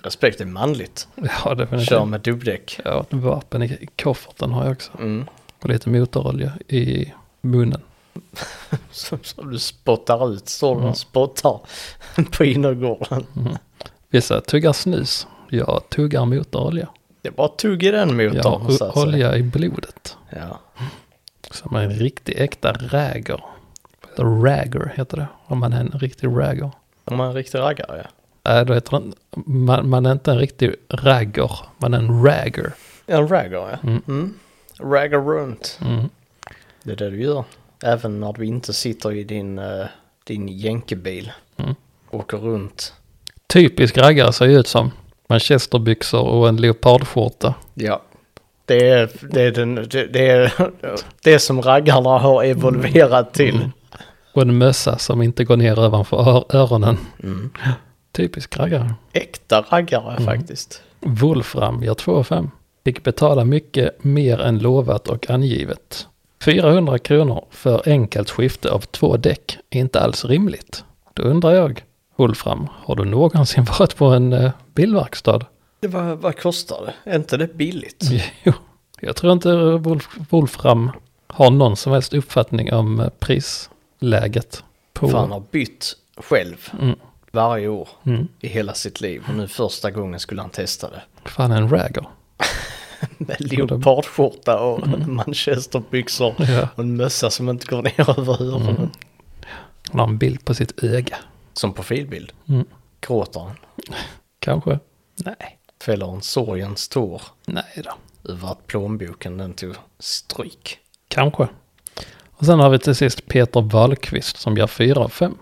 [SPEAKER 1] Respekt är manligt.
[SPEAKER 2] Ja, definitivt.
[SPEAKER 1] Kör med dubbdäck.
[SPEAKER 2] Ja, ett vapen i kofferten har jag också.
[SPEAKER 1] Mm.
[SPEAKER 2] Och lite motorolja i munnen.
[SPEAKER 1] Som, som du spottar ut. Står du och spottar på innergården.
[SPEAKER 2] Vissa tuggar snus. Jag tuggar motorolja.
[SPEAKER 1] Det är bara tugg i den motorn.
[SPEAKER 2] Jag
[SPEAKER 1] så att
[SPEAKER 2] har
[SPEAKER 1] säga.
[SPEAKER 2] olja i blodet.
[SPEAKER 1] Ja.
[SPEAKER 2] Som en riktig äkta ragger. The ragger heter det. Om man är en riktig ragger.
[SPEAKER 1] Om man är en riktig raggare ja.
[SPEAKER 2] Nej, då heter den, man, man är inte en riktig ragger. Man är en ragger.
[SPEAKER 1] En raggare ja. Mm. Raggar runt.
[SPEAKER 2] Mm.
[SPEAKER 1] Det är det du gör. Även när du inte sitter i din, eh, din jänkebil.
[SPEAKER 2] Mm.
[SPEAKER 1] Åker runt.
[SPEAKER 2] Typisk raggare ser ju ut som manchesterbyxor och en leopardskjorta.
[SPEAKER 1] Ja. Det är
[SPEAKER 2] Mm.
[SPEAKER 1] det, är den, det, det, är, det som raggarna har evolverat till.
[SPEAKER 2] Och en mössa som inte går ner ovanför ö- öronen.
[SPEAKER 1] Mm.
[SPEAKER 2] Typisk raggare.
[SPEAKER 1] Äkta raggare
[SPEAKER 2] Mm.
[SPEAKER 1] faktiskt.
[SPEAKER 2] Wolfram gör 2 5. Fick betala mycket mer än lovat och angivet. 400 kronor för enkelt skifte av två däck är inte alls rimligt. Då undrar jag, Wolfram, har du någonsin varit på en eh, bilverkstad?
[SPEAKER 1] Det var, vad kostar det? Är inte det billigt?
[SPEAKER 2] Jo, jag tror inte Wolf- Wolfram har någon som helst uppfattning om eh, prisläget. På,
[SPEAKER 1] För han har bytt själv
[SPEAKER 2] Oh. Mm.
[SPEAKER 1] varje år
[SPEAKER 2] Mm.
[SPEAKER 1] i hela sitt liv. Och nu första gången skulle han testa det.
[SPEAKER 2] Fan, en ragger.
[SPEAKER 1] Med leopardskjorta och manchesterbyxor.
[SPEAKER 2] Mm. Ja. Mm.
[SPEAKER 1] Och en mössa som inte går ner över öronen.
[SPEAKER 2] Han har en bild på sitt öga.
[SPEAKER 1] Som profilbild.
[SPEAKER 2] Mm.
[SPEAKER 1] Gråter han.
[SPEAKER 2] Kanske? Nej.
[SPEAKER 1] Fäller en sorgens tår
[SPEAKER 2] Nej då.
[SPEAKER 1] över att plånboken den tog stryk.
[SPEAKER 2] Kanske. Och sen har vi till sist Peter Wahlqvist som gör 4 av 5.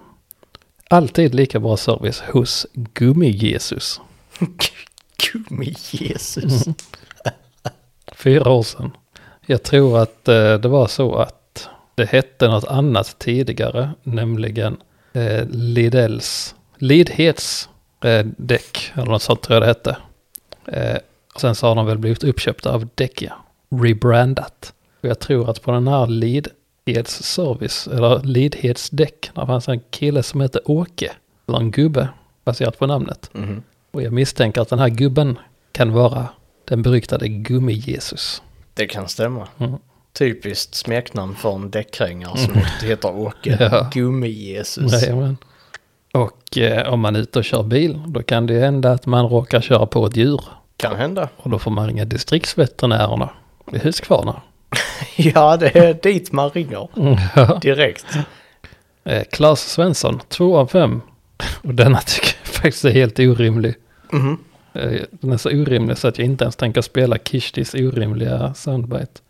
[SPEAKER 2] Alltid lika bra service hos Gummi-Jesus.
[SPEAKER 1] Gummi-Jesus.
[SPEAKER 2] Mm. Fyra år sedan. Jag tror att eh, det var så att det hette något annat tidigare, nämligen eh, Lidels, Lidhets eh, däck, eller något sånt tror jag det hette. Eh, och sen så har de väl blivit uppköpta av Däckia, rebrandat. Och jag tror att på den här Lidhets service, eller Lidhets däck, där fanns en kille som hette Åke, eller en gubbe, baserat på namnet.
[SPEAKER 1] Mhm.
[SPEAKER 2] Och jag misstänker att den här gubben kan vara den beryktade Gummi-Jesus.
[SPEAKER 1] Det kan stämma.
[SPEAKER 2] Mm.
[SPEAKER 1] Typiskt smeknamn för en däckkrängare som heter Åke.
[SPEAKER 2] Ja.
[SPEAKER 1] Gummi-Jesus.
[SPEAKER 2] Jajamän. Och eh, om man är ute och kör bil, då kan det ju hända att man råkar köra på ett djur.
[SPEAKER 1] Kan hända.
[SPEAKER 2] Och då får man ringa distriktsveterinärerna i Huskvarna.
[SPEAKER 1] Ja, det är dit man ringer. Direkt.
[SPEAKER 2] Eh, Claes Svensson, 2 av 5. Och denna tycker jag faktiskt är helt orimlig.
[SPEAKER 1] Mhm.
[SPEAKER 2] Eh, Den är så orimlig så att jag inte ens tänker spela Kishtis orimliga soundbite.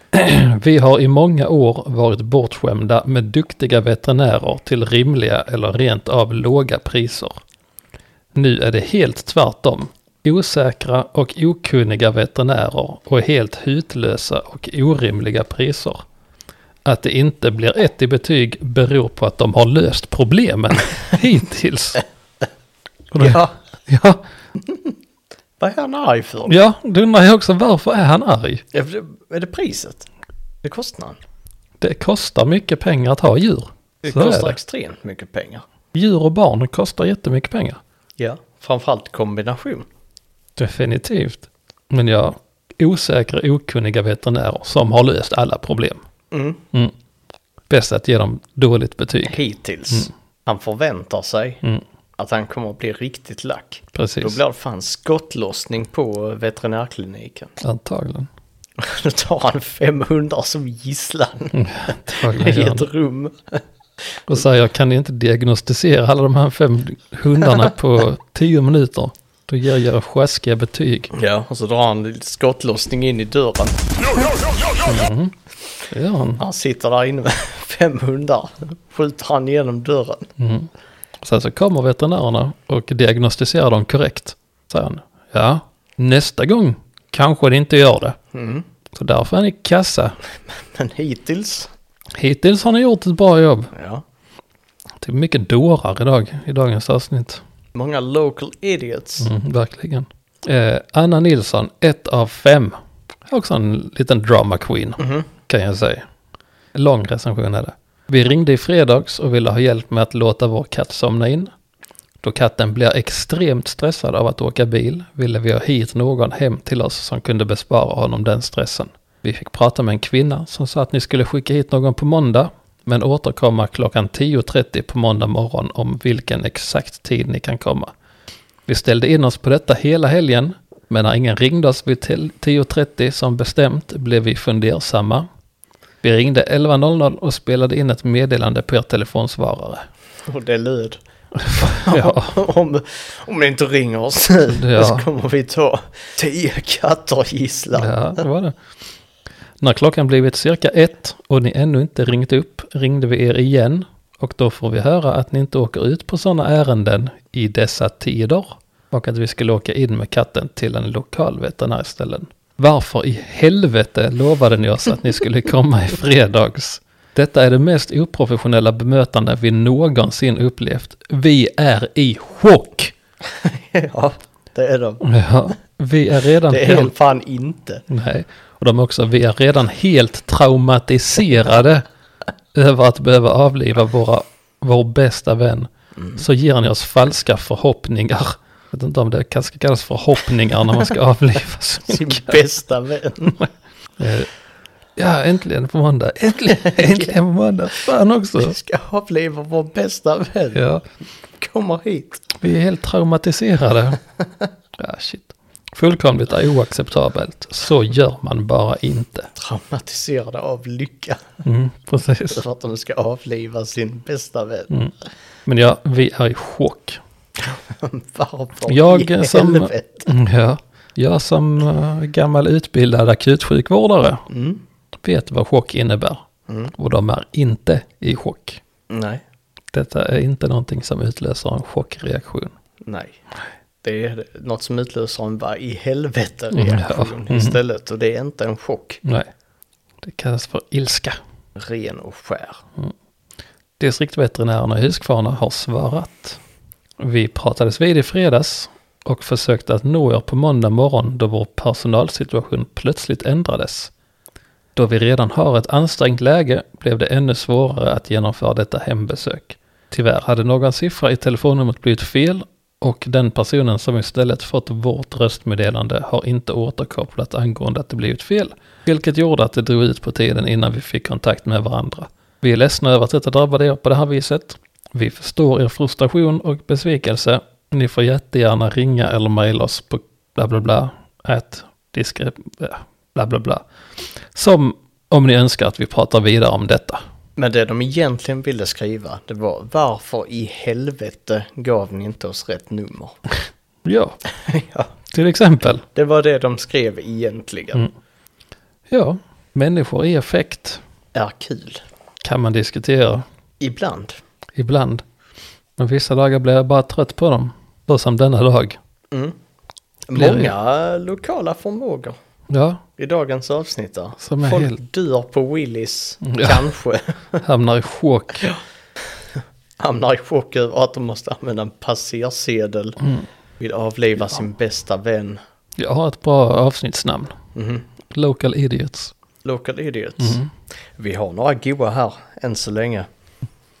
[SPEAKER 2] Vi har i många år varit bortskämda med duktiga veterinärer till rimliga eller rent av låga priser. Nu är det helt tvärtom. Osäkra och okunniga veterinärer och helt hutlösa och orimliga priser. Att det inte blir ett i betyg beror på att de har löst problemen hittills. Och då-
[SPEAKER 1] Ja,
[SPEAKER 2] ja,
[SPEAKER 1] vad är han arg för?
[SPEAKER 2] Ja, då undrar jag också varför är han arg?
[SPEAKER 1] Är det- Är det priset? Det kostar han.
[SPEAKER 2] Det kostar mycket pengar att ha djur.
[SPEAKER 1] Det
[SPEAKER 2] Så
[SPEAKER 1] kostar
[SPEAKER 2] är det.
[SPEAKER 1] extremt mycket pengar.
[SPEAKER 2] Djur och barn kostar jättemycket pengar.
[SPEAKER 1] Ja, framförallt kombination.
[SPEAKER 2] Definitivt. Men jag osäkra, okunniga veterinärer som har löst alla problem.
[SPEAKER 1] Mm.
[SPEAKER 2] Mm. Bäst att ge dem dåligt betyg.
[SPEAKER 1] Hittills. Han förväntar sig
[SPEAKER 2] Mm.
[SPEAKER 1] att han kommer att bli riktigt lack. Då
[SPEAKER 2] Precis.
[SPEAKER 1] blir det fan skottlossning på eh, veterinärkliniken.
[SPEAKER 2] Antagligen.
[SPEAKER 1] Då tar han 500 som gisslan
[SPEAKER 2] Antagligen
[SPEAKER 1] i
[SPEAKER 2] gör han
[SPEAKER 1] ett
[SPEAKER 2] det.
[SPEAKER 1] rum.
[SPEAKER 2] Och säger jag kan ni inte diagnostisera alla de här fem hundarna på tio minuter. Då ger jag er sjaskiga betyg.
[SPEAKER 1] Ja, och så drar han lite skottlossning in i dörren.
[SPEAKER 2] Det gör han.
[SPEAKER 1] Han sitter där inne med fem hundar. Skjuter han genom dörren.
[SPEAKER 2] Mm. Sen så kommer veterinärerna och diagnostiserar dem korrekt. Säger han. Ja, nästa gång kanske det inte gör det.
[SPEAKER 1] Mm.
[SPEAKER 2] Så därför är ni kassa.
[SPEAKER 1] Men hittills,
[SPEAKER 2] Hittills har ni gjort ett bra jobb.
[SPEAKER 1] ja.
[SPEAKER 2] Det är mycket dårar idag i dagens avsnitt.
[SPEAKER 1] Många local idiots.
[SPEAKER 2] Mm, verkligen. Eh, Anna Nilsson, ett av fem. Också en liten drama queen, kan jag säga. Lång recension är det. Vi ringde i fredags och ville ha hjälp med att låta vår katt somna in. Då katten blir extremt stressad av att åka bil ville vi ha hit någon hem till oss som kunde bespara honom den stressen. Vi fick prata med en kvinna som sa att ni skulle skicka hit någon på måndag men återkomma klockan 10.30 på måndag morgon om vilken exakt tid ni kan komma. Vi ställde in oss på detta hela helgen, men när ingen ringde oss vid 10.30 som bestämt blev vi fundersamma. Vi ringde 11.00 och spelade in ett meddelande på er telefonsvarare.
[SPEAKER 1] Och det löd.
[SPEAKER 2] Ja,
[SPEAKER 1] Om, om ni inte ringer oss nu
[SPEAKER 2] Ja.
[SPEAKER 1] så kommer vi ta tio katter gisslan.
[SPEAKER 2] ja, det var det. När klockan blivit cirka ett och ni ännu inte ringt upp ringde vi er igen och då får vi höra att ni inte åker ut på sådana ärenden i dessa tider och att vi skulle åka in med katten till en lokal veterinär istället. Varför i helvete lovade ni oss att ni skulle komma i fredags? Detta är det mest oprofessionella bemötande vi någonsin upplevt. Vi är i chock!
[SPEAKER 1] ja, det är de.
[SPEAKER 2] Ja, vi är redan
[SPEAKER 1] Det är de
[SPEAKER 2] helt...
[SPEAKER 1] fan inte.
[SPEAKER 2] Nej, och de också, vi är redan helt traumatiserade över att behöva avliva våra, vår bästa vän. Så ger ni oss falska förhoppningar. Jag vet inte om det kanske kallas förhoppningar när man ska avliva sin
[SPEAKER 1] Sin bästa vän.
[SPEAKER 2] Eh, Ja, äntligen på måndag. Äntligen, äntligen på måndag. Fan också.
[SPEAKER 1] Vi ska avliva vår bästa vän.
[SPEAKER 2] Ja,
[SPEAKER 1] Kommer hit.
[SPEAKER 2] vi är helt traumatiserade. Ja, shit. Fullkomligt är oacceptabelt. Så gör man bara inte.
[SPEAKER 1] Traumatiserade av lycka.
[SPEAKER 2] Mm, precis.
[SPEAKER 1] För att de ska avliva sin bästa vän.
[SPEAKER 2] Mm. Men ja, vi är i chock.
[SPEAKER 1] Varför
[SPEAKER 2] Jag
[SPEAKER 1] i
[SPEAKER 2] som-
[SPEAKER 1] helvete?
[SPEAKER 2] Mm, Ja, jag som eh, gammal utbildad akutsjukvårdare
[SPEAKER 1] Mm.
[SPEAKER 2] vet vad chock innebär. Och de är inte i chock.
[SPEAKER 1] Nej,
[SPEAKER 2] Detta är inte någonting som utlöser en chockreaktion.
[SPEAKER 1] nej. Det är något som utlöser en vad i helvete
[SPEAKER 2] Mm, ja.
[SPEAKER 1] reaktion
[SPEAKER 2] Mm.
[SPEAKER 1] istället. Och det är inte en chock.
[SPEAKER 2] Nej, det kallas för ilska.
[SPEAKER 1] Ren och skär.
[SPEAKER 2] Distriktveterinärerna i Huskvarna har svarat. Vi pratades vid i fredags och försökte att nå er på måndag morgon då vår personalsituation plötsligt ändrades. Då vi redan har ett ansträngt läge blev det ännu svårare att genomföra detta hembesök. Tyvärr hade någon siffra i telefonnumret blivit fel och den personen som istället fått vårt röstmeddelande har inte återkopplat angående att det blivit fel, vilket gjorde att det drog ut på tiden innan vi fick kontakt med varandra. Vi är ledsna över att detta drabbade er på det här viset. Vi förstår er frustration och besvikelse. Ni får jättegärna ringa eller mejla oss på bla bla bla, at diskre, bla bla bla. Som om ni önskar att vi pratar vidare om detta.
[SPEAKER 1] Men det de egentligen ville skriva, det var varför i helvete gav ni inte oss rätt nummer?
[SPEAKER 2] Ja,
[SPEAKER 1] ja,
[SPEAKER 2] till exempel.
[SPEAKER 1] det var det de skrev egentligen.
[SPEAKER 2] Mm. Ja, människor i effekt
[SPEAKER 1] Är kul.
[SPEAKER 2] kan man diskutera
[SPEAKER 1] Ibland.
[SPEAKER 2] ibland. Men vissa dagar blir jag bara trött på dem. Så som denna dag.
[SPEAKER 1] Mm.
[SPEAKER 2] Blir det-
[SPEAKER 1] Många lokala förmågor
[SPEAKER 2] Ja,
[SPEAKER 1] i dagens avsnitt där.
[SPEAKER 2] Som är
[SPEAKER 1] Folk
[SPEAKER 2] helt- Mm,
[SPEAKER 1] dör på Willys,
[SPEAKER 2] Ja.
[SPEAKER 1] kanske.
[SPEAKER 2] hamnar i chock.
[SPEAKER 1] Hamnar i chock över att de måste använda en passersedel.
[SPEAKER 2] Mm.
[SPEAKER 1] Vill avliva sin bästa vän.
[SPEAKER 2] Jag har ett bra avsnittsnamn.
[SPEAKER 1] Mhm.
[SPEAKER 2] Local Idiots.
[SPEAKER 1] Local Idiots.
[SPEAKER 2] Mhm.
[SPEAKER 1] Vi har några goa här än så länge.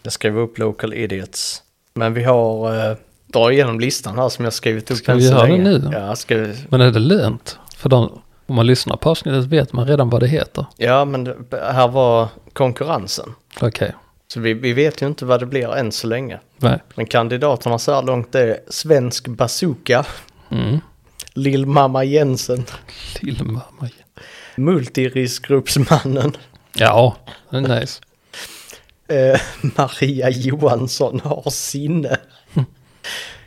[SPEAKER 1] Jag skriver upp Local Idiots. Men vi har, eh, dra igenom listan här som jag skrivit upp
[SPEAKER 2] Ska
[SPEAKER 1] än
[SPEAKER 2] vi
[SPEAKER 1] så
[SPEAKER 2] göra det
[SPEAKER 1] länge.
[SPEAKER 2] nu?
[SPEAKER 1] Ja, ska vi...
[SPEAKER 2] Men är det lönt? För de, om man lyssnar på avsnittet vet man redan vad det heter.
[SPEAKER 1] ja, men det- här var konkurrensen.
[SPEAKER 2] Okej,
[SPEAKER 1] Så vi, vi vet ju inte vad det blir än så länge.
[SPEAKER 2] nej.
[SPEAKER 1] Men kandidaterna så här långt är Svensk Bazooka,
[SPEAKER 2] Mm.
[SPEAKER 1] Lill Mamma Jensen,
[SPEAKER 2] Lillmamma.
[SPEAKER 1] Multiriskgruppsmannen,
[SPEAKER 2] Ja, det är nice.
[SPEAKER 1] eh, Maria Johansson har sinne,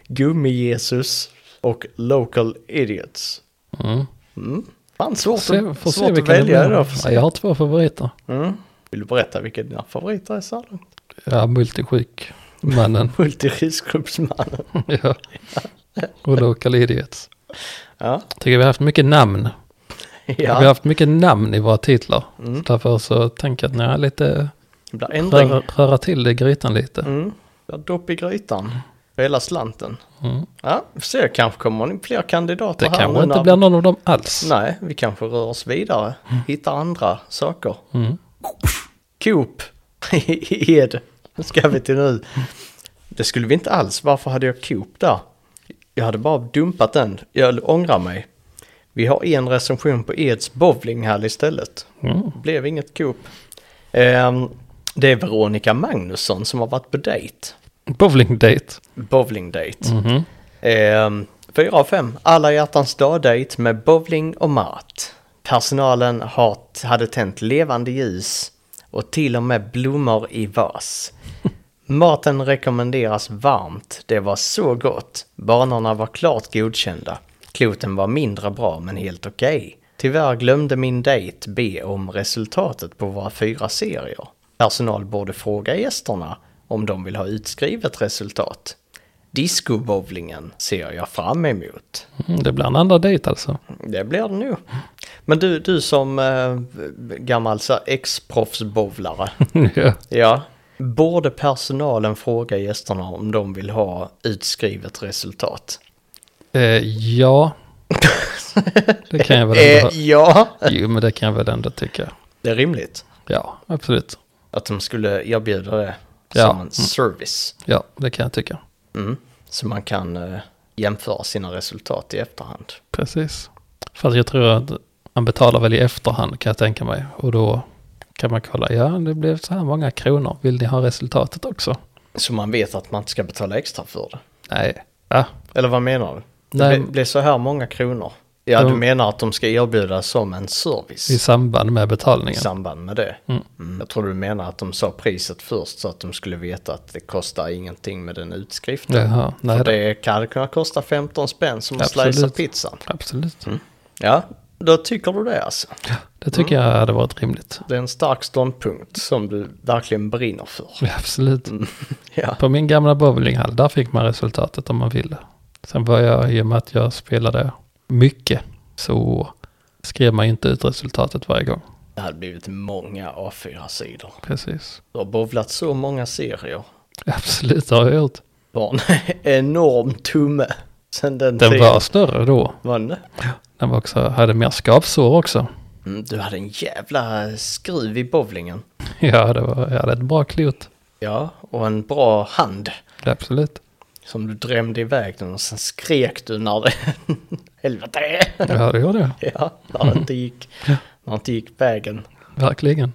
[SPEAKER 1] Gummi-Jesus och Local Idiots.
[SPEAKER 2] Mm.
[SPEAKER 1] Mm. Fan, svårt,
[SPEAKER 2] Se,
[SPEAKER 1] att
[SPEAKER 2] får se
[SPEAKER 1] svårt att
[SPEAKER 2] vilken det
[SPEAKER 1] välja idag.
[SPEAKER 2] blir.
[SPEAKER 1] Får
[SPEAKER 2] Ja,
[SPEAKER 1] se.
[SPEAKER 2] jag har två favoriter.
[SPEAKER 1] Mm. Vill du berätta vilka dina favoriter är så här långt?
[SPEAKER 2] Ja, multisjuk. Mannen.
[SPEAKER 1] Multiriskgruppsmannen.
[SPEAKER 2] ja. Och Local Idiots.
[SPEAKER 1] Ja,
[SPEAKER 2] Tycker vi har haft mycket namn. Vi har
[SPEAKER 1] ja. Mm.
[SPEAKER 2] haft mycket namn i våra titlar. Så därför så tänker jag att nej, lite
[SPEAKER 1] det blir ändring.
[SPEAKER 2] röra, röra till det i grytan lite.
[SPEAKER 1] Mm. Det är dopp i grytan. För hela slanten.
[SPEAKER 2] Mm.
[SPEAKER 1] Ja, vi får se, kanske kommer det fler kandidater
[SPEAKER 2] Det
[SPEAKER 1] här
[SPEAKER 2] kanske
[SPEAKER 1] nu
[SPEAKER 2] inte
[SPEAKER 1] när-
[SPEAKER 2] blir någon av dem alls.
[SPEAKER 1] Nej, vi kanske rör oss vidare. Hittar andra saker.
[SPEAKER 2] Mm.
[SPEAKER 1] Coop. Ed. Nu ska vi till nu. Det skulle vi inte alls. Varför hade jag Coop där? Jag hade bara dumpat den. Jag ångrar mig. Vi har en recension på Eds bowlinghall istället.
[SPEAKER 2] Mm.
[SPEAKER 1] Det blev inget Coop. Ehm, det är Veronica Magnusson som har varit på dejt.
[SPEAKER 2] Bowling date.
[SPEAKER 1] Bowling date.
[SPEAKER 2] Mhm.
[SPEAKER 1] Ehm, Fyra av fem. Alla hjärtans dag-dejt med bowling och mat. Personalen har, hade tänt levande ljus och till och med blommor i vas. Maten rekommenderas varmt. Det var så gott. Banorna var klart godkända. Kloten var mindre bra men helt okej. Tyvärr glömde min dejt be om resultatet på våra fyra serier. Personal borde fråga gästerna om de vill ha utskrivet resultat. Discobowlingen ser jag fram emot.
[SPEAKER 2] Mm, det blir en andra dejt alltså.
[SPEAKER 1] Det blir det nog. Men du, du som eh, gammal så här ex-proffsbowlare.
[SPEAKER 2] ja.
[SPEAKER 1] ja. Borde personalen fråga gästerna om de vill ha utskrivet resultat?
[SPEAKER 2] Eh, ja. det kan jag väl
[SPEAKER 1] Eh,
[SPEAKER 2] ändå,
[SPEAKER 1] ja.
[SPEAKER 2] jo, men det kan jag väl ändå tycka.
[SPEAKER 1] Det är rimligt
[SPEAKER 2] Ja, absolut.
[SPEAKER 1] att de skulle erbjuda det
[SPEAKER 2] Ja.
[SPEAKER 1] som en
[SPEAKER 2] Mm.
[SPEAKER 1] service.
[SPEAKER 2] Ja, det kan jag tycka.
[SPEAKER 1] Mm. Så man kan eh, jämföra sina resultat i efterhand.
[SPEAKER 2] Precis. Fast jag tror att man betalar väl i efterhand kan jag tänka mig. Och då kan man kolla, ja det blev så här många kronor, vill ni ha resultatet också?
[SPEAKER 1] Så man vet att man inte ska betala extra för det.
[SPEAKER 2] Nej, ja,
[SPEAKER 1] Eller vad menar du? Det
[SPEAKER 2] Nej.
[SPEAKER 1] blir- blir så här många kronor. Ja,
[SPEAKER 2] De-
[SPEAKER 1] du menar att de ska erbjudas som en service
[SPEAKER 2] i samband med
[SPEAKER 1] i
[SPEAKER 2] betalningen.
[SPEAKER 1] samband med det?
[SPEAKER 2] Mm.
[SPEAKER 1] Mm. Jag tror du menar att de sa priset först så att de skulle veta att det kostar ingenting med den utskriften.
[SPEAKER 2] Jaha, nej
[SPEAKER 1] För
[SPEAKER 2] det,
[SPEAKER 1] det kan kunna kosta 15 spänn som att
[SPEAKER 2] Absolut.
[SPEAKER 1] slicea pizzan.
[SPEAKER 2] absolut.
[SPEAKER 1] Mm. Ja, då tycker du det alltså.
[SPEAKER 2] Det tycker jag hade varit rimligt.
[SPEAKER 1] Det är en stark ståndpunkt som du verkligen brinner för.
[SPEAKER 2] Ja, Absolut.
[SPEAKER 1] Ja.
[SPEAKER 2] På min gamla bowlinghall, där fick man resultatet om man ville. Sen var jag, i och med att jag spelade mycket, så skrev man ju inte ut resultatet varje gång.
[SPEAKER 1] Det hade blivit många A4-sidor.
[SPEAKER 2] Precis.
[SPEAKER 1] Du har bovlat så många serier.
[SPEAKER 2] Absolut, det har jag gjort.
[SPEAKER 1] Var en enorm tumme sen den,
[SPEAKER 2] Den
[SPEAKER 1] tiden.
[SPEAKER 2] var större då.
[SPEAKER 1] Var den det?
[SPEAKER 2] Den var också, hade mer skavsår också.
[SPEAKER 1] Mm, Du hade en jävla skruv i bowlingen.
[SPEAKER 2] Ja, det var, jag hade ett bra klot.
[SPEAKER 1] Ja, och en bra hand
[SPEAKER 2] Absolut.
[SPEAKER 1] som du drämde iväg den och sen skrek du när det... Helvete!
[SPEAKER 2] Ja, det gjorde jag.
[SPEAKER 1] Ja, när det inte gick, när det inte gick vägen.
[SPEAKER 2] Verkligen.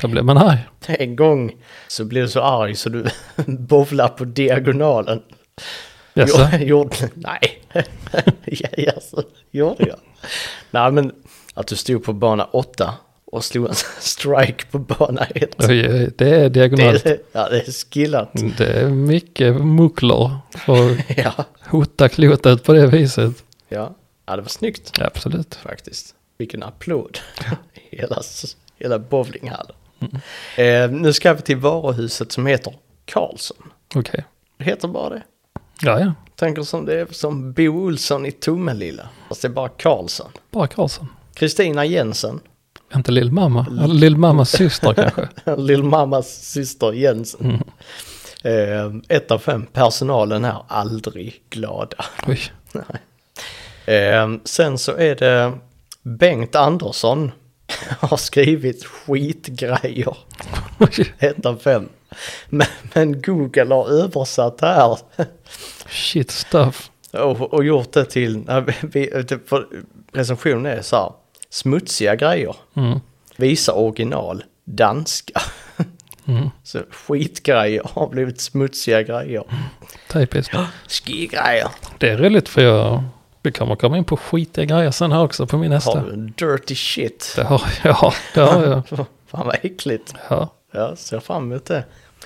[SPEAKER 2] Då blev man arg.
[SPEAKER 1] En gång så blev du så arg så du bowlade på diagonalen.
[SPEAKER 2] Jaså?
[SPEAKER 1] Jo- Gjorde, nej, Ja, jaså, gjorde jag? Nej, men att du stod på bana åtta och slog en strike på bana ett.
[SPEAKER 2] Oj, oj, det är
[SPEAKER 1] Det
[SPEAKER 2] diagonalt.
[SPEAKER 1] är, ja, det är skillat.
[SPEAKER 2] Det är mycket mucklor för att
[SPEAKER 1] Ja,
[SPEAKER 2] hota klotet på det viset.
[SPEAKER 1] ja. ja, det var snyggt
[SPEAKER 2] Absolut.
[SPEAKER 1] faktiskt. Vilken applåd. Hela, s- hela bowlinghallen.
[SPEAKER 2] Mm.
[SPEAKER 1] Eh, nu ska vi till varuhuset som heter Karlsson.
[SPEAKER 2] Okej.
[SPEAKER 1] Det heter bara det.
[SPEAKER 2] Ja, ja.
[SPEAKER 1] Tänker som det är som Bo Olsson i Tomelilla. Fast det är bara Karlsson.
[SPEAKER 2] Bara Karlsson.
[SPEAKER 1] Kristina Jensen.
[SPEAKER 2] Inte lillmamma. Eller lillmammas syster kanske.
[SPEAKER 1] Lillmammas syster Jensen. Eh, ett av fem, personalen är aldrig glada.
[SPEAKER 2] Oj.
[SPEAKER 1] Eh, sen så är det Bengt Andersson har skrivit skitgrejer.
[SPEAKER 2] Oj.
[SPEAKER 1] Ett av fem. Men, men Google har översatt det här
[SPEAKER 2] Shit stuff.
[SPEAKER 1] och, och gjort det till, nej, vi, vi- för recensionen är så här, smutsiga grejer.
[SPEAKER 2] Mm.
[SPEAKER 1] Visa original, danska.
[SPEAKER 2] Mm.
[SPEAKER 1] Så skitgrejer har blivit smutsiga grejer.
[SPEAKER 2] Typiskt.
[SPEAKER 1] Skigrejer.
[SPEAKER 2] Det är roligt för jag... Vi kommer komma in på skitiga grejer sen här också på min
[SPEAKER 1] Har
[SPEAKER 2] nästa.
[SPEAKER 1] du en dirty shit?
[SPEAKER 2] Det har jag. Det har jag.
[SPEAKER 1] Fan vad äckligt.
[SPEAKER 2] Ja.
[SPEAKER 1] Jag ser fram emot det.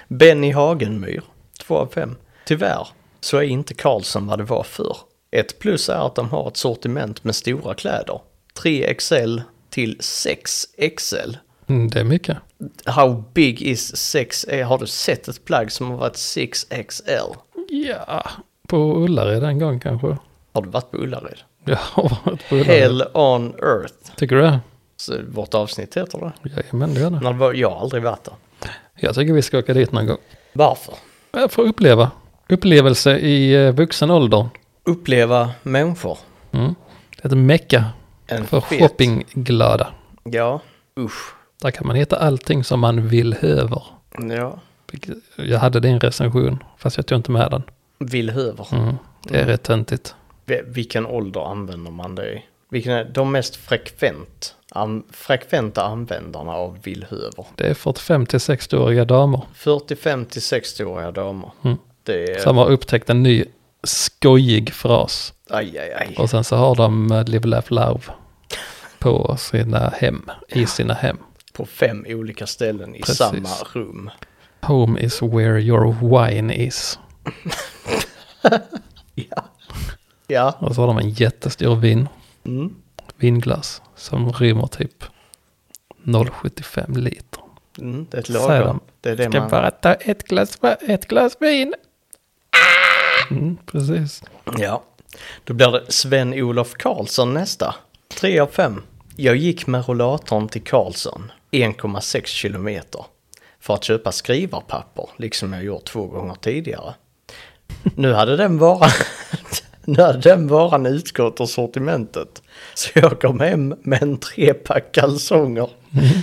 [SPEAKER 1] Benny Hagenmyr, 2 av 5. Tyvärr så är inte Karlsson vad det var för. Ett plus är att de har ett sortiment med stora kläder. 3XL till 6XL.
[SPEAKER 2] Mm, Det är mycket.
[SPEAKER 1] How big is 6 Har du sett ett plagg som har varit 6XL?
[SPEAKER 2] Ja, på Ullared en gång kanske.
[SPEAKER 1] Har du varit på Ullared?
[SPEAKER 2] Jag har varit på Ullared.
[SPEAKER 1] Hell on earth.
[SPEAKER 2] Tycker du det?
[SPEAKER 1] Så vårt avsnitt heter det.
[SPEAKER 2] Jajamän, det gör det.
[SPEAKER 1] När det var, jag har aldrig varit där.
[SPEAKER 2] Jag tycker vi ska åka dit någon gång.
[SPEAKER 1] Varför?
[SPEAKER 2] Jag får uppleva. Upplevelse i eh, vuxen ålder.
[SPEAKER 1] Uppleva människor.
[SPEAKER 2] Mm. Ett mecka
[SPEAKER 1] En
[SPEAKER 2] för
[SPEAKER 1] fet-
[SPEAKER 2] shoppingglada.
[SPEAKER 1] Ja. Usch.
[SPEAKER 2] Där kan man hitta allting som man vill höver.
[SPEAKER 1] Ja.
[SPEAKER 2] Vilket- Jag hade din recension, fast jag tog inte med den.
[SPEAKER 1] Villhöver.
[SPEAKER 2] Mm. Det är rätt töntigt.
[SPEAKER 1] Vi- Vilken ålder använder man det i? Vilken är de mest frekvent, an, frekventa användarna av villhöver?
[SPEAKER 2] Det är 45-60-åriga damer
[SPEAKER 1] 45 till 60-åriga damer.
[SPEAKER 2] Mm.
[SPEAKER 1] Det är...
[SPEAKER 2] som har upptäckt en ny skojig fras.
[SPEAKER 1] Aj, aj, aj.
[SPEAKER 2] Och sen så har de eh, Live Laugh Love på sina hem, i sina hem.
[SPEAKER 1] På fem olika ställen i
[SPEAKER 2] Precis.
[SPEAKER 1] samma rum.
[SPEAKER 2] Home is where your wine is.
[SPEAKER 1] Ja.
[SPEAKER 2] Och så har de en jättestor vin,
[SPEAKER 1] Mm.
[SPEAKER 2] vinglas som rymmer typ 0,75 liter.
[SPEAKER 1] Mm. Det är ett
[SPEAKER 2] Säger
[SPEAKER 1] lagom.
[SPEAKER 2] de.
[SPEAKER 1] Det är det
[SPEAKER 2] Ska
[SPEAKER 1] man...
[SPEAKER 2] bara ta ett glas, ett glas vin. Mm, precis.
[SPEAKER 1] Ja. Då blir det Sven-Olof Karlsson nästa. Tre av fem. Jag gick med rollatorn till Karlsson 1,6 kilometer för att köpa skrivarpapper, liksom jag gjort två gånger tidigare. Nu hade den varan, nu hade den varan utgått ur sortimentet, så jag kom hem med en trepack kalsonger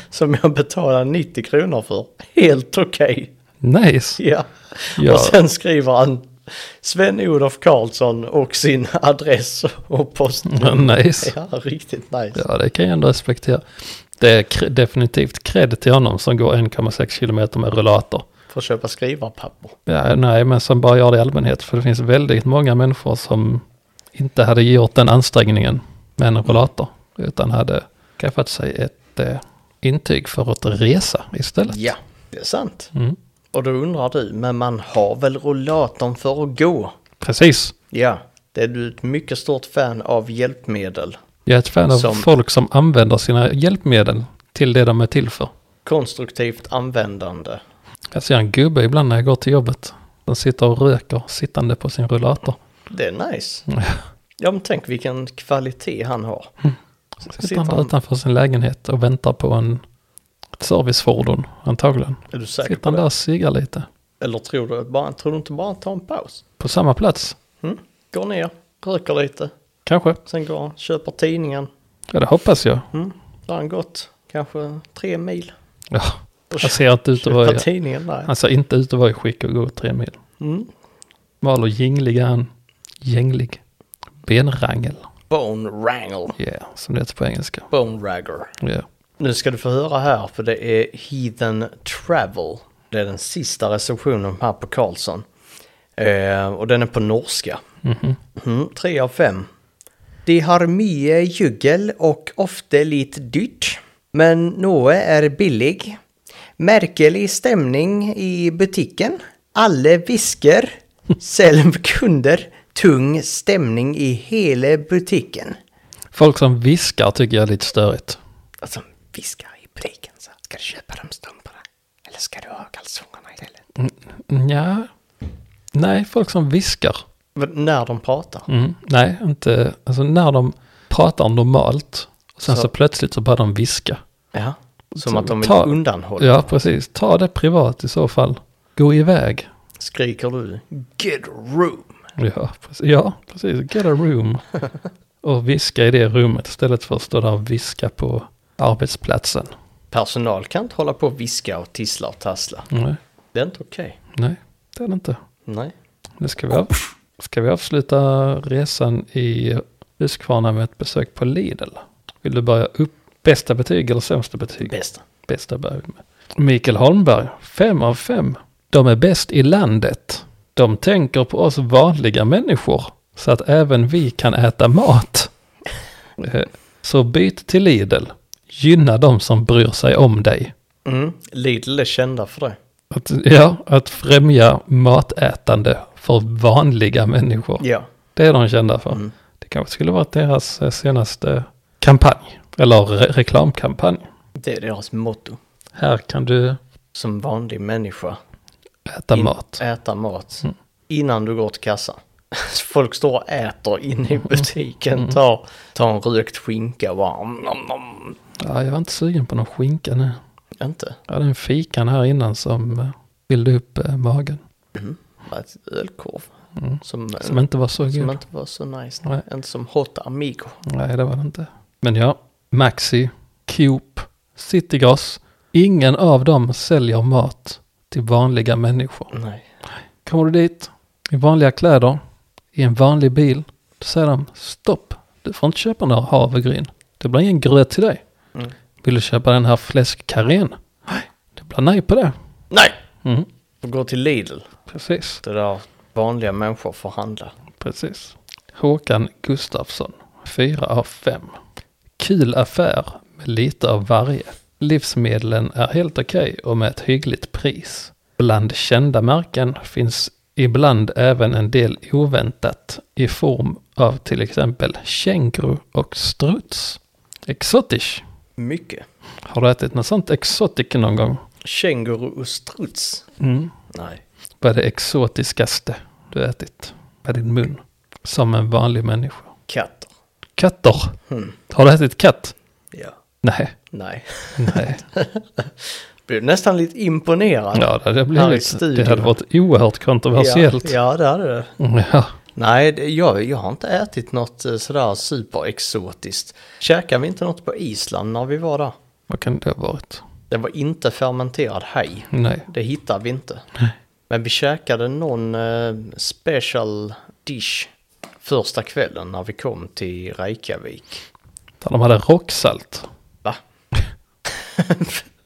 [SPEAKER 1] som jag betalade 90 kronor för. Helt okej.
[SPEAKER 2] Nice.
[SPEAKER 1] Ja.
[SPEAKER 2] Ja.
[SPEAKER 1] och sen skriver han Sven-Olof Karlsson och sin adress och postnummer.
[SPEAKER 2] nice.
[SPEAKER 1] Ja, riktigt nice.
[SPEAKER 2] Ja, det kan jag ändå respektera. Det är kre- definitivt cred till honom som går 1,6 kilometer med rullator.
[SPEAKER 1] Får köpa skrivarpapper.
[SPEAKER 2] Ja, nej, men som bara gör det i allmänhet. För det finns väldigt många människor som inte hade gjort den ansträngningen med en rullator. Utan hade skaffat sig ett eh, intyg för att resa istället.
[SPEAKER 1] Ja, det är sant.
[SPEAKER 2] Mm.
[SPEAKER 1] Och då undrar du, men man har väl rollatorn för att gå?
[SPEAKER 2] Precis.
[SPEAKER 1] Ja, det är du ett mycket stort fan av hjälpmedel.
[SPEAKER 2] Jag är ett fan av
[SPEAKER 1] Som-
[SPEAKER 2] folk som använder sina hjälpmedel till det de är till för.
[SPEAKER 1] Konstruktivt användande.
[SPEAKER 2] Jag ser en gubbe ibland när jag går till jobbet. Den sitter och röker sittande på sin rullator.
[SPEAKER 1] Det är nice. Ja, men tänk vilken kvalitet han har.
[SPEAKER 2] Mm. Sitter
[SPEAKER 1] Sitter
[SPEAKER 2] han där
[SPEAKER 1] han-
[SPEAKER 2] utanför sin lägenhet och väntar på en, ett servicefordon antagligen.
[SPEAKER 1] Är du säker
[SPEAKER 2] Sitter
[SPEAKER 1] på
[SPEAKER 2] han
[SPEAKER 1] det?
[SPEAKER 2] där och siggar lite.
[SPEAKER 1] Eller tror du, bara, tror du inte bara han tar en paus?
[SPEAKER 2] På samma plats.
[SPEAKER 1] Mm? Går ner, röker lite,
[SPEAKER 2] Kanske.
[SPEAKER 1] sen går han, köper tidningen.
[SPEAKER 2] Ja, det hoppas jag.
[SPEAKER 1] Mm? Då har han gått kanske tre mil.
[SPEAKER 2] Ja,
[SPEAKER 1] Och
[SPEAKER 2] han ser inte ut att vara
[SPEAKER 1] köper
[SPEAKER 2] i,
[SPEAKER 1] tidningen där.
[SPEAKER 2] han ser inte ut att vara i skick att gå tre mil.
[SPEAKER 1] Mm?
[SPEAKER 2] Mal och jinglig är han. Gänglig. Benrangel.
[SPEAKER 1] Bone wrangle.
[SPEAKER 2] Yeah, som det heter på engelska.
[SPEAKER 1] Bone ragger.
[SPEAKER 2] Yeah.
[SPEAKER 1] Nu ska du få höra här, för det är Heathen Travel. Det är den sista recensionen här på Karlsson. Eh, och den är på norska. Mm, tre av fem. De har mye juggel och ofta lite dyrt. Men något är billig. Märkelig stämning i butiken. Alla visker. Själv kunder. Tung stämning i hela butiken.
[SPEAKER 2] Folk som viskar tycker jag är lite störigt.
[SPEAKER 1] Alltså viskar i butiken så här, Ska du köpa de strumporna? Eller ska du ha kalsongerna istället?
[SPEAKER 2] Ja. Nej, folk som viskar.
[SPEAKER 1] När de pratar?
[SPEAKER 2] Mm, nej, inte. Alltså när de pratar normalt. Och sen så.
[SPEAKER 1] Så-
[SPEAKER 2] plötsligt så börjar de viska.
[SPEAKER 1] Ja. Som
[SPEAKER 2] Så
[SPEAKER 1] att de vill
[SPEAKER 2] ta-
[SPEAKER 1] undanhålla.
[SPEAKER 2] Ja, precis. Ta det privat i så fall. Gå iväg.
[SPEAKER 1] Skriker du Get a room!
[SPEAKER 2] Ja, precis. Ja, precis. Get a room. och viska i det rummet istället för att stå där och viska på arbetsplatsen.
[SPEAKER 1] Personal kan inte hålla på och viska och tissla och tassla.
[SPEAKER 2] Nej,
[SPEAKER 1] Det är inte okej.
[SPEAKER 2] nej, det är det inte.
[SPEAKER 1] Nej.
[SPEAKER 2] Nu ska vi, av, ska vi avsluta resan i Huskvarna med ett besök på Lidl. Vill du börja upp? Bästa betyg eller sämsta betyg?
[SPEAKER 1] Bästa.
[SPEAKER 2] Bästa börjar vi med. Mikael Holmberg, fem av fem. De är bäst i landet. De tänker på oss vanliga människor så att även vi kan äta mat. Eh, Så byt till Lidl. Gynna de som bryr sig om dig.
[SPEAKER 1] Mm. Lidl är kända för det.
[SPEAKER 2] Att, ja, att främja matätande för vanliga människor.
[SPEAKER 1] Ja.
[SPEAKER 2] Det är de kända för.
[SPEAKER 1] Mm.
[SPEAKER 2] Det kanske skulle vara deras eh, senaste kampanj. Eller re- reklamkampanj.
[SPEAKER 1] Det är deras motto.
[SPEAKER 2] Här kan du
[SPEAKER 1] Som vanlig människa.
[SPEAKER 2] äta
[SPEAKER 1] in-
[SPEAKER 2] mat.
[SPEAKER 1] Äta mat.
[SPEAKER 2] Mm.
[SPEAKER 1] Innan du går till kassan. Folk står och äter inne
[SPEAKER 2] Mm.
[SPEAKER 1] i butiken. Tar, tar en rökt skinka och bara... Nom, nom, nom.
[SPEAKER 2] Ja, jag var inte sugen på någon skinka nu.
[SPEAKER 1] Inte?
[SPEAKER 2] Jag hade en fikan här innan som eh, fyllde upp eh, magen.
[SPEAKER 1] Bara ett ölkorv. Som,
[SPEAKER 2] Mm. Som inte var så
[SPEAKER 1] som
[SPEAKER 2] god.
[SPEAKER 1] inte var så nice.
[SPEAKER 2] Nej.
[SPEAKER 1] Inte som Hot Amigo.
[SPEAKER 2] Nej, det var det inte. Men ja, Maxi, Coop, Citygross. Ingen av dem säljer mat till vanliga människor.
[SPEAKER 1] Nej.
[SPEAKER 2] Kommer du dit i vanliga kläder, i en vanlig bil, då säger de stopp. Du får inte köpa några havregryn. Det blir ingen gröt till dig.
[SPEAKER 1] Mm.
[SPEAKER 2] Vill du köpa den här fläskkarrén? Nej, det blir nej på det.
[SPEAKER 1] Nej!
[SPEAKER 2] Mm,
[SPEAKER 1] Får gå till Lidl.
[SPEAKER 2] precis.
[SPEAKER 1] Det där vanliga människor får handla.
[SPEAKER 2] Precis. Håkan Gustafsson, 4 av 5. Kul affär med lite av varje. Livsmedlen är helt okej och med ett hyggligt pris. Bland kända märken finns ibland även en del oväntat i form av till exempel känguru och struts. Exotisk.
[SPEAKER 1] Mycket.
[SPEAKER 2] Har du ätit något sånt exotic någon gång?
[SPEAKER 1] Känguru och struts.
[SPEAKER 2] Mm.
[SPEAKER 1] Nej.
[SPEAKER 2] Vad är det exotiskaste du ätit med din mun? Som en vanlig människa.
[SPEAKER 1] Katter.
[SPEAKER 2] Katter.
[SPEAKER 1] Mm.
[SPEAKER 2] Har du ätit katt?
[SPEAKER 1] Ja.
[SPEAKER 2] Nej,
[SPEAKER 1] Nej.
[SPEAKER 2] nej.
[SPEAKER 1] Blev nästan lite imponerad.
[SPEAKER 2] Ja, det hade
[SPEAKER 1] Här i
[SPEAKER 2] blivit,
[SPEAKER 1] studion.
[SPEAKER 2] det hade varit oerhört kontroversiellt.
[SPEAKER 1] Ja, ja, det hade det.
[SPEAKER 2] Ja. Ja.
[SPEAKER 1] Nej, det- jag, jag har inte ätit något eh, sådär superexotiskt. Käkade vi inte något på Island när vi var där?
[SPEAKER 2] Vad kan det ha varit?
[SPEAKER 1] Det var inte fermenterad haj.
[SPEAKER 2] Nej.
[SPEAKER 1] Det hittade vi inte. Men vi käkade någon eh, special dish första kvällen när vi kom till Reykjavik.
[SPEAKER 2] Där de hade rocksalt.
[SPEAKER 1] Va?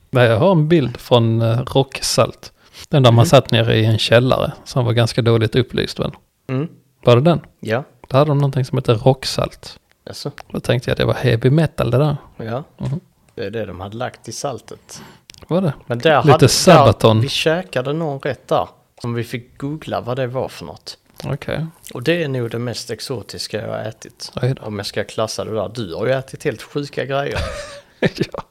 [SPEAKER 2] Nej, jag har en bild från eh, rocksalt. Den där man satt nere i en källare som var ganska dåligt upplyst väl?
[SPEAKER 1] Mm.
[SPEAKER 2] Var det den?
[SPEAKER 1] Ja,
[SPEAKER 2] Där hade de någonting som heter rocksalt.
[SPEAKER 1] alltså,
[SPEAKER 2] Då tänkte jag att det var heavy metal det där.
[SPEAKER 1] ja.
[SPEAKER 2] Mhm.
[SPEAKER 1] Det är det de hade lagt i saltet.
[SPEAKER 2] Var det?
[SPEAKER 1] Men där
[SPEAKER 2] Lite
[SPEAKER 1] hade,
[SPEAKER 2] Sabaton.
[SPEAKER 1] Där, vi käkade någon rätt där. Som vi fick googla vad det var för något.
[SPEAKER 2] Okej.
[SPEAKER 1] Och det är nog det mest exotiska jag har ätit.
[SPEAKER 2] Oj då.
[SPEAKER 1] Om jag ska klassa det där. Du har ju ätit helt sjuka grejer.
[SPEAKER 2] ja.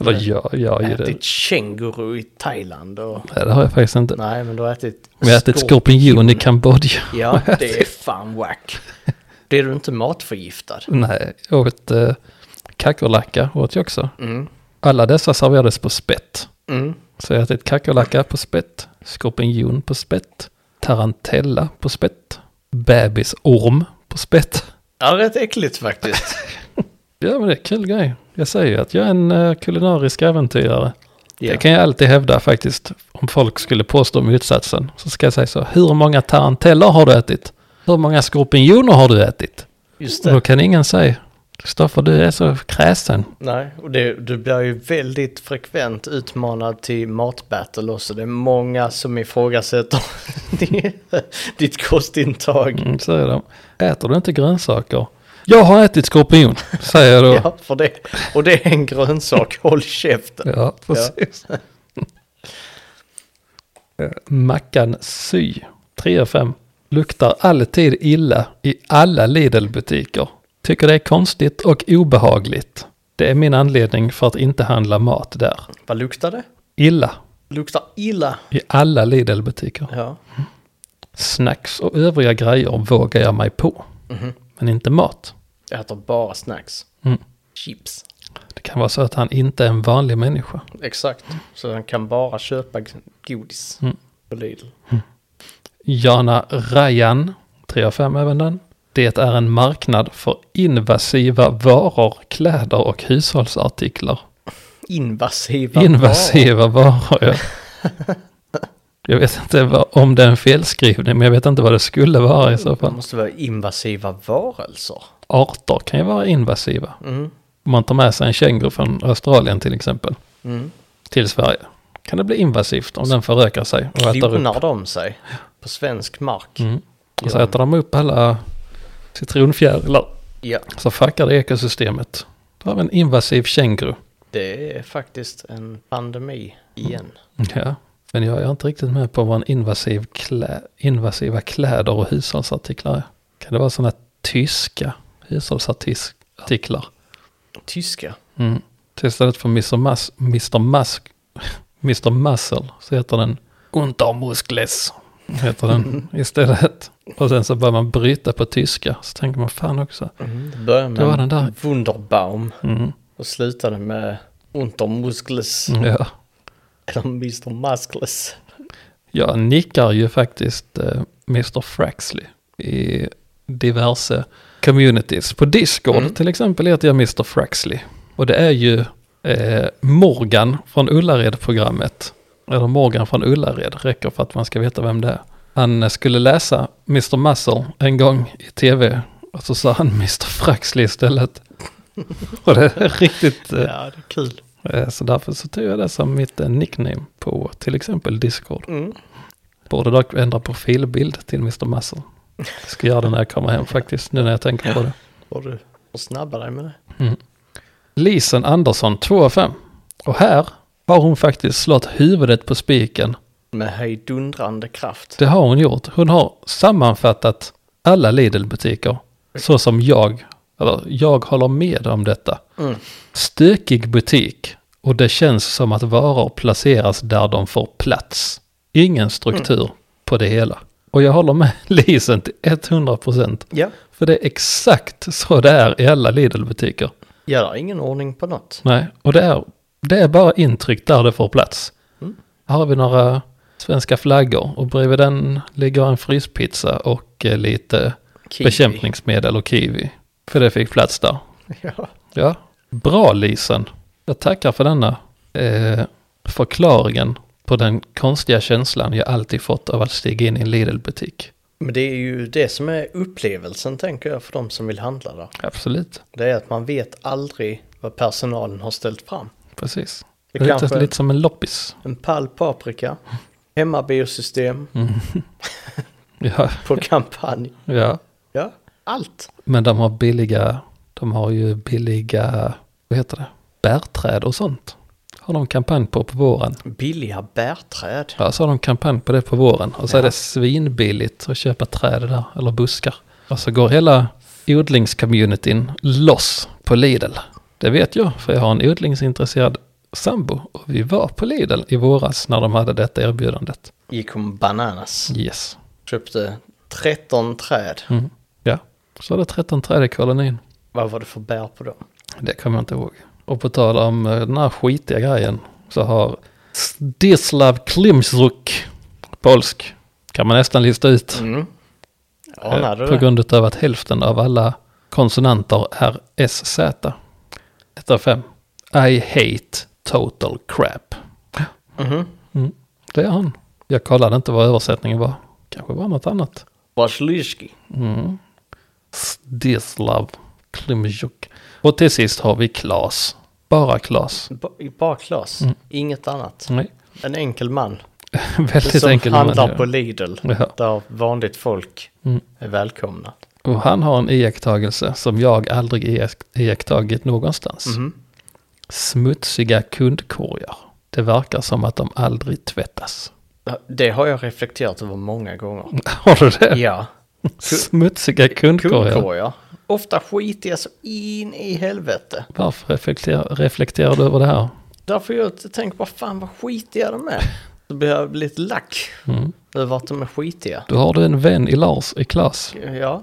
[SPEAKER 2] Eller ja, ja, ju det.
[SPEAKER 1] ätit känguru i Thailand och...
[SPEAKER 2] Nej, det har jag faktiskt inte.
[SPEAKER 1] Nej, men du har ätit...
[SPEAKER 2] Vi har ätit skorpion i Kambodja.
[SPEAKER 1] Ja, det är fan wack. Blir du inte matförgiftad?
[SPEAKER 2] Nej, jag åt eh, kackerlacka åt jag också.
[SPEAKER 1] Mm.
[SPEAKER 2] Alla dessa serverades på spett.
[SPEAKER 1] Mm.
[SPEAKER 2] Så jag har ätit kackerlacka på spett, skorpion på spett, tarantella på spett, bebisorm på spett.
[SPEAKER 1] Ja, rätt äckligt faktiskt.
[SPEAKER 2] Ja, men det är en kul grej. Jag säger ju att jag är en eh, kulinarisk äventyrare.
[SPEAKER 1] Ja.
[SPEAKER 2] Det kan jag alltid hävda faktiskt. Om folk skulle påstå motsatsen så ska jag säga så. Hur många tarantellor har du ätit? Hur många skorpioner har du ätit?
[SPEAKER 1] Just
[SPEAKER 2] Och då
[SPEAKER 1] det.
[SPEAKER 2] kan ingen säga. Kristoffer, du är så kräsen.
[SPEAKER 1] Nej, och det, du blir ju väldigt frekvent utmanad till matbattle också. Det är många som ifrågasätter ditt kostintag.
[SPEAKER 2] Mm, säger de. Äter du inte grönsaker? Jag har ätit skorpion, säger jag då.
[SPEAKER 1] Ja, för det. Och det är en grönsak, håll käften.
[SPEAKER 2] Ja, precis. Eh, Mackan Sy, 3 av 5. Luktar alltid illa i alla Lidl-butiker. Tycker det är konstigt och obehagligt. Det är min anledning för att inte handla mat där.
[SPEAKER 1] Vad luktar det?
[SPEAKER 2] Illa
[SPEAKER 1] Luktar illa.
[SPEAKER 2] i alla Lidl-butiker.
[SPEAKER 1] Ja.
[SPEAKER 2] Snacks och övriga grejer vågar jag mig på. Men inte mat.
[SPEAKER 1] Jag äter bara snacks.
[SPEAKER 2] Mm.
[SPEAKER 1] Chips.
[SPEAKER 2] Det kan vara så att han inte är en vanlig människa.
[SPEAKER 1] Exakt. Så han kan bara köpa godis
[SPEAKER 2] Mm.
[SPEAKER 1] på Lidl.
[SPEAKER 2] Jana Rajan, 3 av 5 även den. Det är en marknad för invasiva varor, kläder och hushållsartiklar.
[SPEAKER 1] Invasiva
[SPEAKER 2] invasiva varor, ja. Jag vet inte vad- om det är en felskrivning, men jag vet inte vad det skulle vara i så
[SPEAKER 1] varor. Det
[SPEAKER 2] fall.
[SPEAKER 1] måste vara invasiva varelser.
[SPEAKER 2] Arter kan ju vara invasiva.
[SPEAKER 1] Mm.
[SPEAKER 2] Om man tar med sig en känguru från Australien till exempel,
[SPEAKER 1] Mm.
[SPEAKER 2] till Sverige, kan det bli invasivt om den förökar sig och äter upp.
[SPEAKER 1] Klonar de sig på svensk mark?
[SPEAKER 2] Mm. Och så äter de upp alla citronfjärilar.
[SPEAKER 1] Ja,
[SPEAKER 2] Så fuckar det ekosystemet. Då har vi en invasiv känguru.
[SPEAKER 1] det är faktiskt en pandemi igen.
[SPEAKER 2] Ja. Men jag är inte riktigt med på vad en invasiv klä, invasiva kläder och hushållsartiklar är. Kan det vara sådana tyska hushållsartiklar?
[SPEAKER 1] Tyska.
[SPEAKER 2] Mm. Så istället för Mr. Mas, Mr. Mask, Mr. Muscle så heter den Untermuskles. Heter den istället. Och sen så börjar man bryta på tyska. Så tänker man fan också.
[SPEAKER 1] Mm. Det började med
[SPEAKER 2] Det var den där.
[SPEAKER 1] Wunderbaum
[SPEAKER 2] Mm.
[SPEAKER 1] och slutade med Untermuskles
[SPEAKER 2] Ja.
[SPEAKER 1] eller Mr. Muskles.
[SPEAKER 2] Jag nickar ju faktiskt eh, Mr. Fraxley i diverse communities. På Discord
[SPEAKER 1] Mm.
[SPEAKER 2] till exempel heter jag Mr. Fraxley. Och det är ju eh, Morgan från Ullared-programmet. Eller Morgan från Ullared, räcker för att man ska veta vem det är. Han eh, skulle läsa Mr. Muscle en gång i tv. Och så sa han Mr. Fraxley istället. Och det är riktigt... Eh,
[SPEAKER 1] Ja, det är kul.
[SPEAKER 2] eh, Så därför så tog jag det som mitt eh, nickname på till exempel Discord.
[SPEAKER 1] Mm.
[SPEAKER 2] Borde dock ändra profilbild till Mr. Muscle. Jag ska göra det när jag kommer hem faktiskt, nu när jag tänker på det.
[SPEAKER 1] Får du får snabba dig med det.
[SPEAKER 2] Lisen Andersson, 2 av 5. Och här har hon faktiskt slått huvudet på spiken.
[SPEAKER 1] Med hejdundrande kraft.
[SPEAKER 2] Det har hon gjort. Hon har sammanfattat alla Lidl-butiker. Så som jag, eller jag håller med om detta.
[SPEAKER 1] Mm.
[SPEAKER 2] Stökig butik och det känns som att varor placeras där de får plats. Ingen struktur på det hela. Och jag håller med Lisen till 100 procent.
[SPEAKER 1] Ja.
[SPEAKER 2] För det är exakt så det är i alla Lidl-butiker.
[SPEAKER 1] Ja, det är ingen ordning på något.
[SPEAKER 2] Nej, och det är, det är bara intryck där det får plats.
[SPEAKER 1] Mm.
[SPEAKER 2] Här har vi några svenska flaggor och bredvid den ligger en fryspizza och eh, lite
[SPEAKER 1] Kiwi.
[SPEAKER 2] bekämpningsmedel och kiwi. För det fick plats där.
[SPEAKER 1] Ja.
[SPEAKER 2] Ja, bra Lisen. Jag tackar för denna eh, förklaringen på den konstiga känslan jag alltid fått av att stiga in i en Lidl-butik.
[SPEAKER 1] Men det är ju det som är upplevelsen, tänker jag, för de som vill handla där.
[SPEAKER 2] Absolut,
[SPEAKER 1] Det är att man vet aldrig vad personalen har ställt fram.
[SPEAKER 2] precis.
[SPEAKER 1] Det
[SPEAKER 2] Det är
[SPEAKER 1] kanske-
[SPEAKER 2] lite, Mm. lite som en loppis.
[SPEAKER 1] En pall paprika, hemmabiosystem,
[SPEAKER 2] Mm. Ja,
[SPEAKER 1] på kampanj.
[SPEAKER 2] ja.
[SPEAKER 1] Ja, allt.
[SPEAKER 2] Men de har billiga, de har ju billiga, vad heter det, bärträd och sånt. Har de kampanj på på våren.
[SPEAKER 1] Billiga bärträd.
[SPEAKER 2] Ja, så har de kampanj på det på våren. Och så är det svinbilligt att köpa träd där, eller buskar. Och så går hela odlingscommunityn loss på Lidl. Det vet jag, för jag har en odlingsintresserad sambo. Och vi var på Lidl i våras när de hade detta erbjudandet.
[SPEAKER 1] Gick om bananas.
[SPEAKER 2] Yes.
[SPEAKER 1] Köpte 13 träd.
[SPEAKER 2] Mm. Ja, så är det 13 träd i kolonin.
[SPEAKER 1] Vad var det för bär på dem?
[SPEAKER 2] Det kommer jag inte ihåg. Och på tal om eh, den här skitiga grejen så har Zdislav Klimczuk, polsk, kan man nästan lista ut.
[SPEAKER 1] Mm.
[SPEAKER 2] eh,
[SPEAKER 1] Anade
[SPEAKER 2] på
[SPEAKER 1] Mm. du det?
[SPEAKER 2] grund av att hälften av alla konsonanter är SZ. 1 av 5. I hate total crap.
[SPEAKER 1] Mhm.
[SPEAKER 2] Mm, det är han. Jag kollade inte vad översättningen var. Kanske var något annat.
[SPEAKER 1] Waslyski.
[SPEAKER 2] Mm. Zdislav Klimczuk. Och till sist har vi Klas. Bara Klas.
[SPEAKER 1] Ba- I bakglas.
[SPEAKER 2] Mm.
[SPEAKER 1] Inget annat.
[SPEAKER 2] Nej,
[SPEAKER 1] En enkel man.
[SPEAKER 2] väldigt
[SPEAKER 1] som
[SPEAKER 2] enkel
[SPEAKER 1] handlar
[SPEAKER 2] man, ja.
[SPEAKER 1] på Lidl.
[SPEAKER 2] Ja.
[SPEAKER 1] Där vanligt folk
[SPEAKER 2] Mm.
[SPEAKER 1] är välkomna.
[SPEAKER 2] Och han har en iakttagelse som jag aldrig iak- iakttagit någonstans.
[SPEAKER 1] Mhm.
[SPEAKER 2] Smutsiga kundkorgar. Det verkar som att de aldrig tvättas.
[SPEAKER 1] Det har jag reflekterat över många gånger.
[SPEAKER 2] Har du det?
[SPEAKER 1] Ja.
[SPEAKER 2] Smutsiga kundkorgar.
[SPEAKER 1] Kundkorgar. Ofta skitiga så in i helvete.
[SPEAKER 2] Varför reflekterar, reflekterar du över det här?
[SPEAKER 1] Därför jag tänker bara fan vad skitiga de är. Så blir jag lite lack
[SPEAKER 2] Mm.
[SPEAKER 1] över att de är skitiga.
[SPEAKER 2] Då har du en vän i Lars i klass.
[SPEAKER 1] Ja,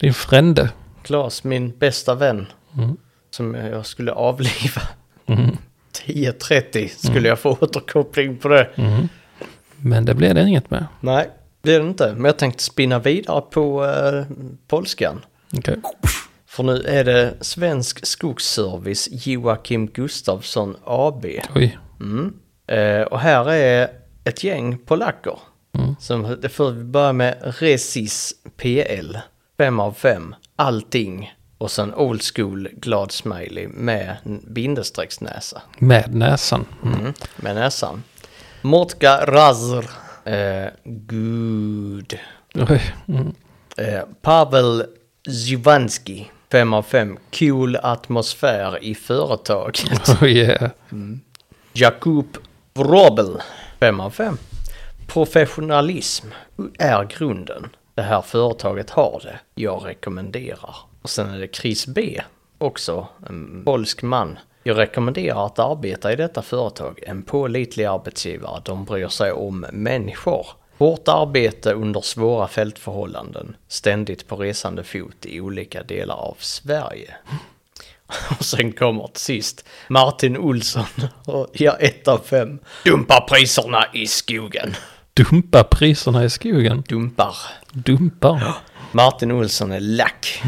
[SPEAKER 2] Din frände.
[SPEAKER 1] Claes, min bästa vän.
[SPEAKER 2] Mm.
[SPEAKER 1] Som jag skulle avliva.
[SPEAKER 2] Mm.
[SPEAKER 1] 10.30 skulle jag få återkoppling på det.
[SPEAKER 2] Mm. Men det blev det inget med.
[SPEAKER 1] Nej, det är det inte. Men jag tänkte spinna vidare på eh, polskan.
[SPEAKER 2] Okej.
[SPEAKER 1] För nu är det Svensk Skogsservice Joakim Gustafsson AB.
[SPEAKER 2] Oj.
[SPEAKER 1] Mm. Eh, och här är ett gäng polacker. Som, det får vi börja med Resis PL. fem av fem Allting. Och sen old school glad smiley med n- bindestrecksnäsa.
[SPEAKER 2] Med näsan. Mm.
[SPEAKER 1] Mm. Med näsan. Mortka Razr. Eh, good.
[SPEAKER 2] Oj. Mm.
[SPEAKER 1] Eh, Pavel Zivanski. fem av fem Cool atmosfär i företaget.
[SPEAKER 2] Oj, eh. yeah.
[SPEAKER 1] Jakub Vrobel, 5 av 5. Professionalism är grunden. Det här företaget har det. Jag rekommenderar. Och sen är det Chris B, också en polsk man. Jag rekommenderar att arbeta i detta företag. En pålitlig arbetsgivare. De bryr sig om människor. Hårt arbete under svåra fältförhållanden. Ständigt på resande fot i olika delar av Sverige. Och sen kommer till sist Martin Olsson. Och jag ett av fem. Dumpa priserna i skogen.
[SPEAKER 2] Dumpa priserna i skogen.
[SPEAKER 1] Dumpar.
[SPEAKER 2] Dumpar.
[SPEAKER 1] Martin Olsson är lack.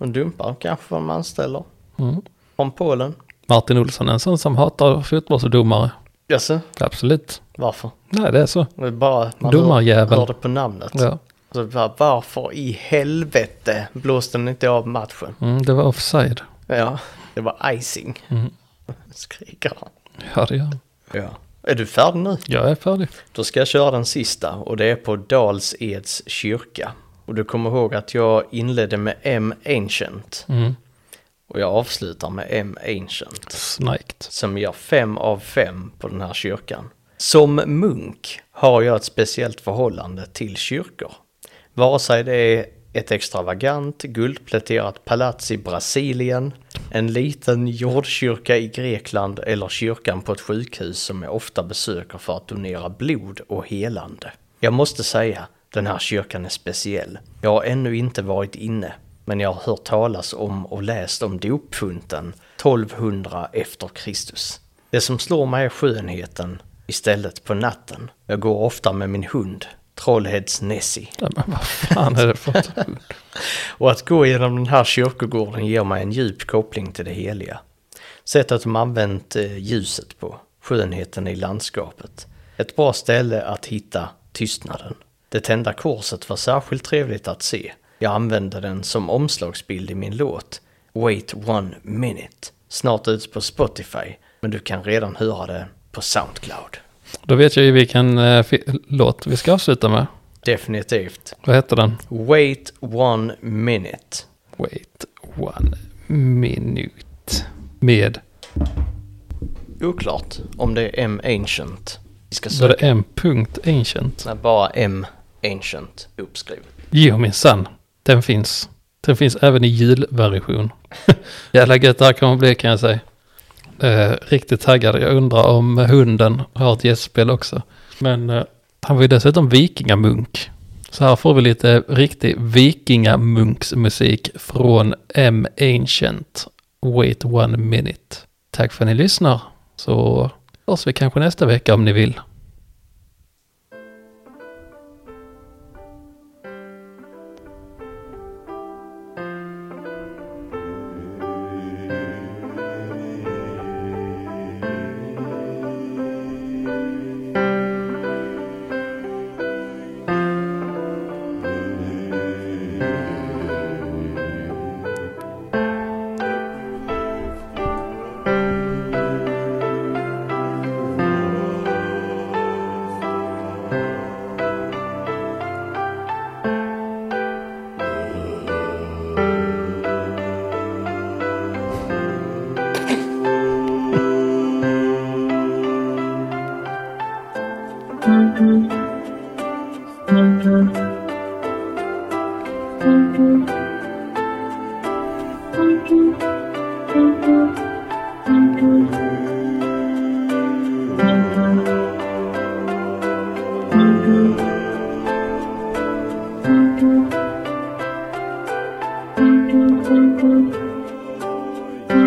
[SPEAKER 1] Och dumpar kanske vad man anställer.
[SPEAKER 2] Mm.
[SPEAKER 1] Från Polen.
[SPEAKER 2] Martin Olsson är en sån som hatar fotbollsdomare.
[SPEAKER 1] Jaså,
[SPEAKER 2] Absolut.
[SPEAKER 1] varför?
[SPEAKER 2] Nej, det är så.
[SPEAKER 1] Det är bara man hör,
[SPEAKER 2] Domarjävel.
[SPEAKER 1] hör det på namnet.
[SPEAKER 2] Ja.
[SPEAKER 1] Så bara, varför i helvete blåste den inte av matchen?
[SPEAKER 2] Mm, det var offside.
[SPEAKER 1] Ja, det var icing.
[SPEAKER 2] Mm.
[SPEAKER 1] Skriker han.
[SPEAKER 2] Ja, det gör han.
[SPEAKER 1] Ja. Är du färdig nu?
[SPEAKER 2] Jag är färdig.
[SPEAKER 1] Då ska jag köra den sista och det är på Dals-Eds kyrka. Och du kommer ihåg att jag inledde med M Ancient.
[SPEAKER 2] Mm.
[SPEAKER 1] Och jag avslutar med M Ancient.
[SPEAKER 2] Snajkt.
[SPEAKER 1] Som gör fem av fem på den här kyrkan. Som munk har jag ett speciellt förhållande till kyrkor. Vare sig det är ett extravagant guldpläterat palats i Brasilien, en liten jordkyrka i Grekland eller kyrkan på ett sjukhus som jag ofta besöker för att donera blod och helande. Jag måste säga, den här kyrkan är speciell. Jag har ännu inte varit inne, Men jag har hört talas om och läst om dopfunten 1200 efter Kristus. Det som slår mig är skönheten istället på natten. Jag går ofta med min hund, Trollhäds Nessie.
[SPEAKER 2] Nej, men vad fan är det för att...
[SPEAKER 1] Och att gå genom den här kyrkogården ger mig en djup koppling till det heliga. Sättet de använt eh, ljuset på, skönheten i landskapet. Ett bra ställe att hitta tystnaden. Det tända korset var särskilt trevligt att se. Jag använde den som omslagsbild i min låt Wait One Minute. Snart ut på Spotify, men du kan redan höra det på Soundcloud.
[SPEAKER 2] Då vet jag ju vilken eh, fi- låt vi ska avsluta med.
[SPEAKER 1] Definitivt.
[SPEAKER 2] Vad heter den?
[SPEAKER 1] Wait One Minute.
[SPEAKER 2] Wait one minute. Med,
[SPEAKER 1] Oklart om det är M Ancient. Vi ska
[SPEAKER 2] så
[SPEAKER 1] söka.
[SPEAKER 2] det är en punkt ancient.
[SPEAKER 1] Nej, bara M Ancient uppskrivet.
[SPEAKER 2] Jo minsann, den finns. Den finns även i julversion. Jävla gött det här kommer bli kan jag säga. Eh, riktigt taggad, jag undrar om hunden har ett gästspel också. Men eh, han var ju dessutom vikingamunk. Så här får vi lite riktig vikingamunksmusik från M Ancient. Wait one minute. Tack för att ni lyssnar. Så hörs vi kanske nästa vecka om ni vill.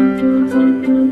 [SPEAKER 4] Thank you.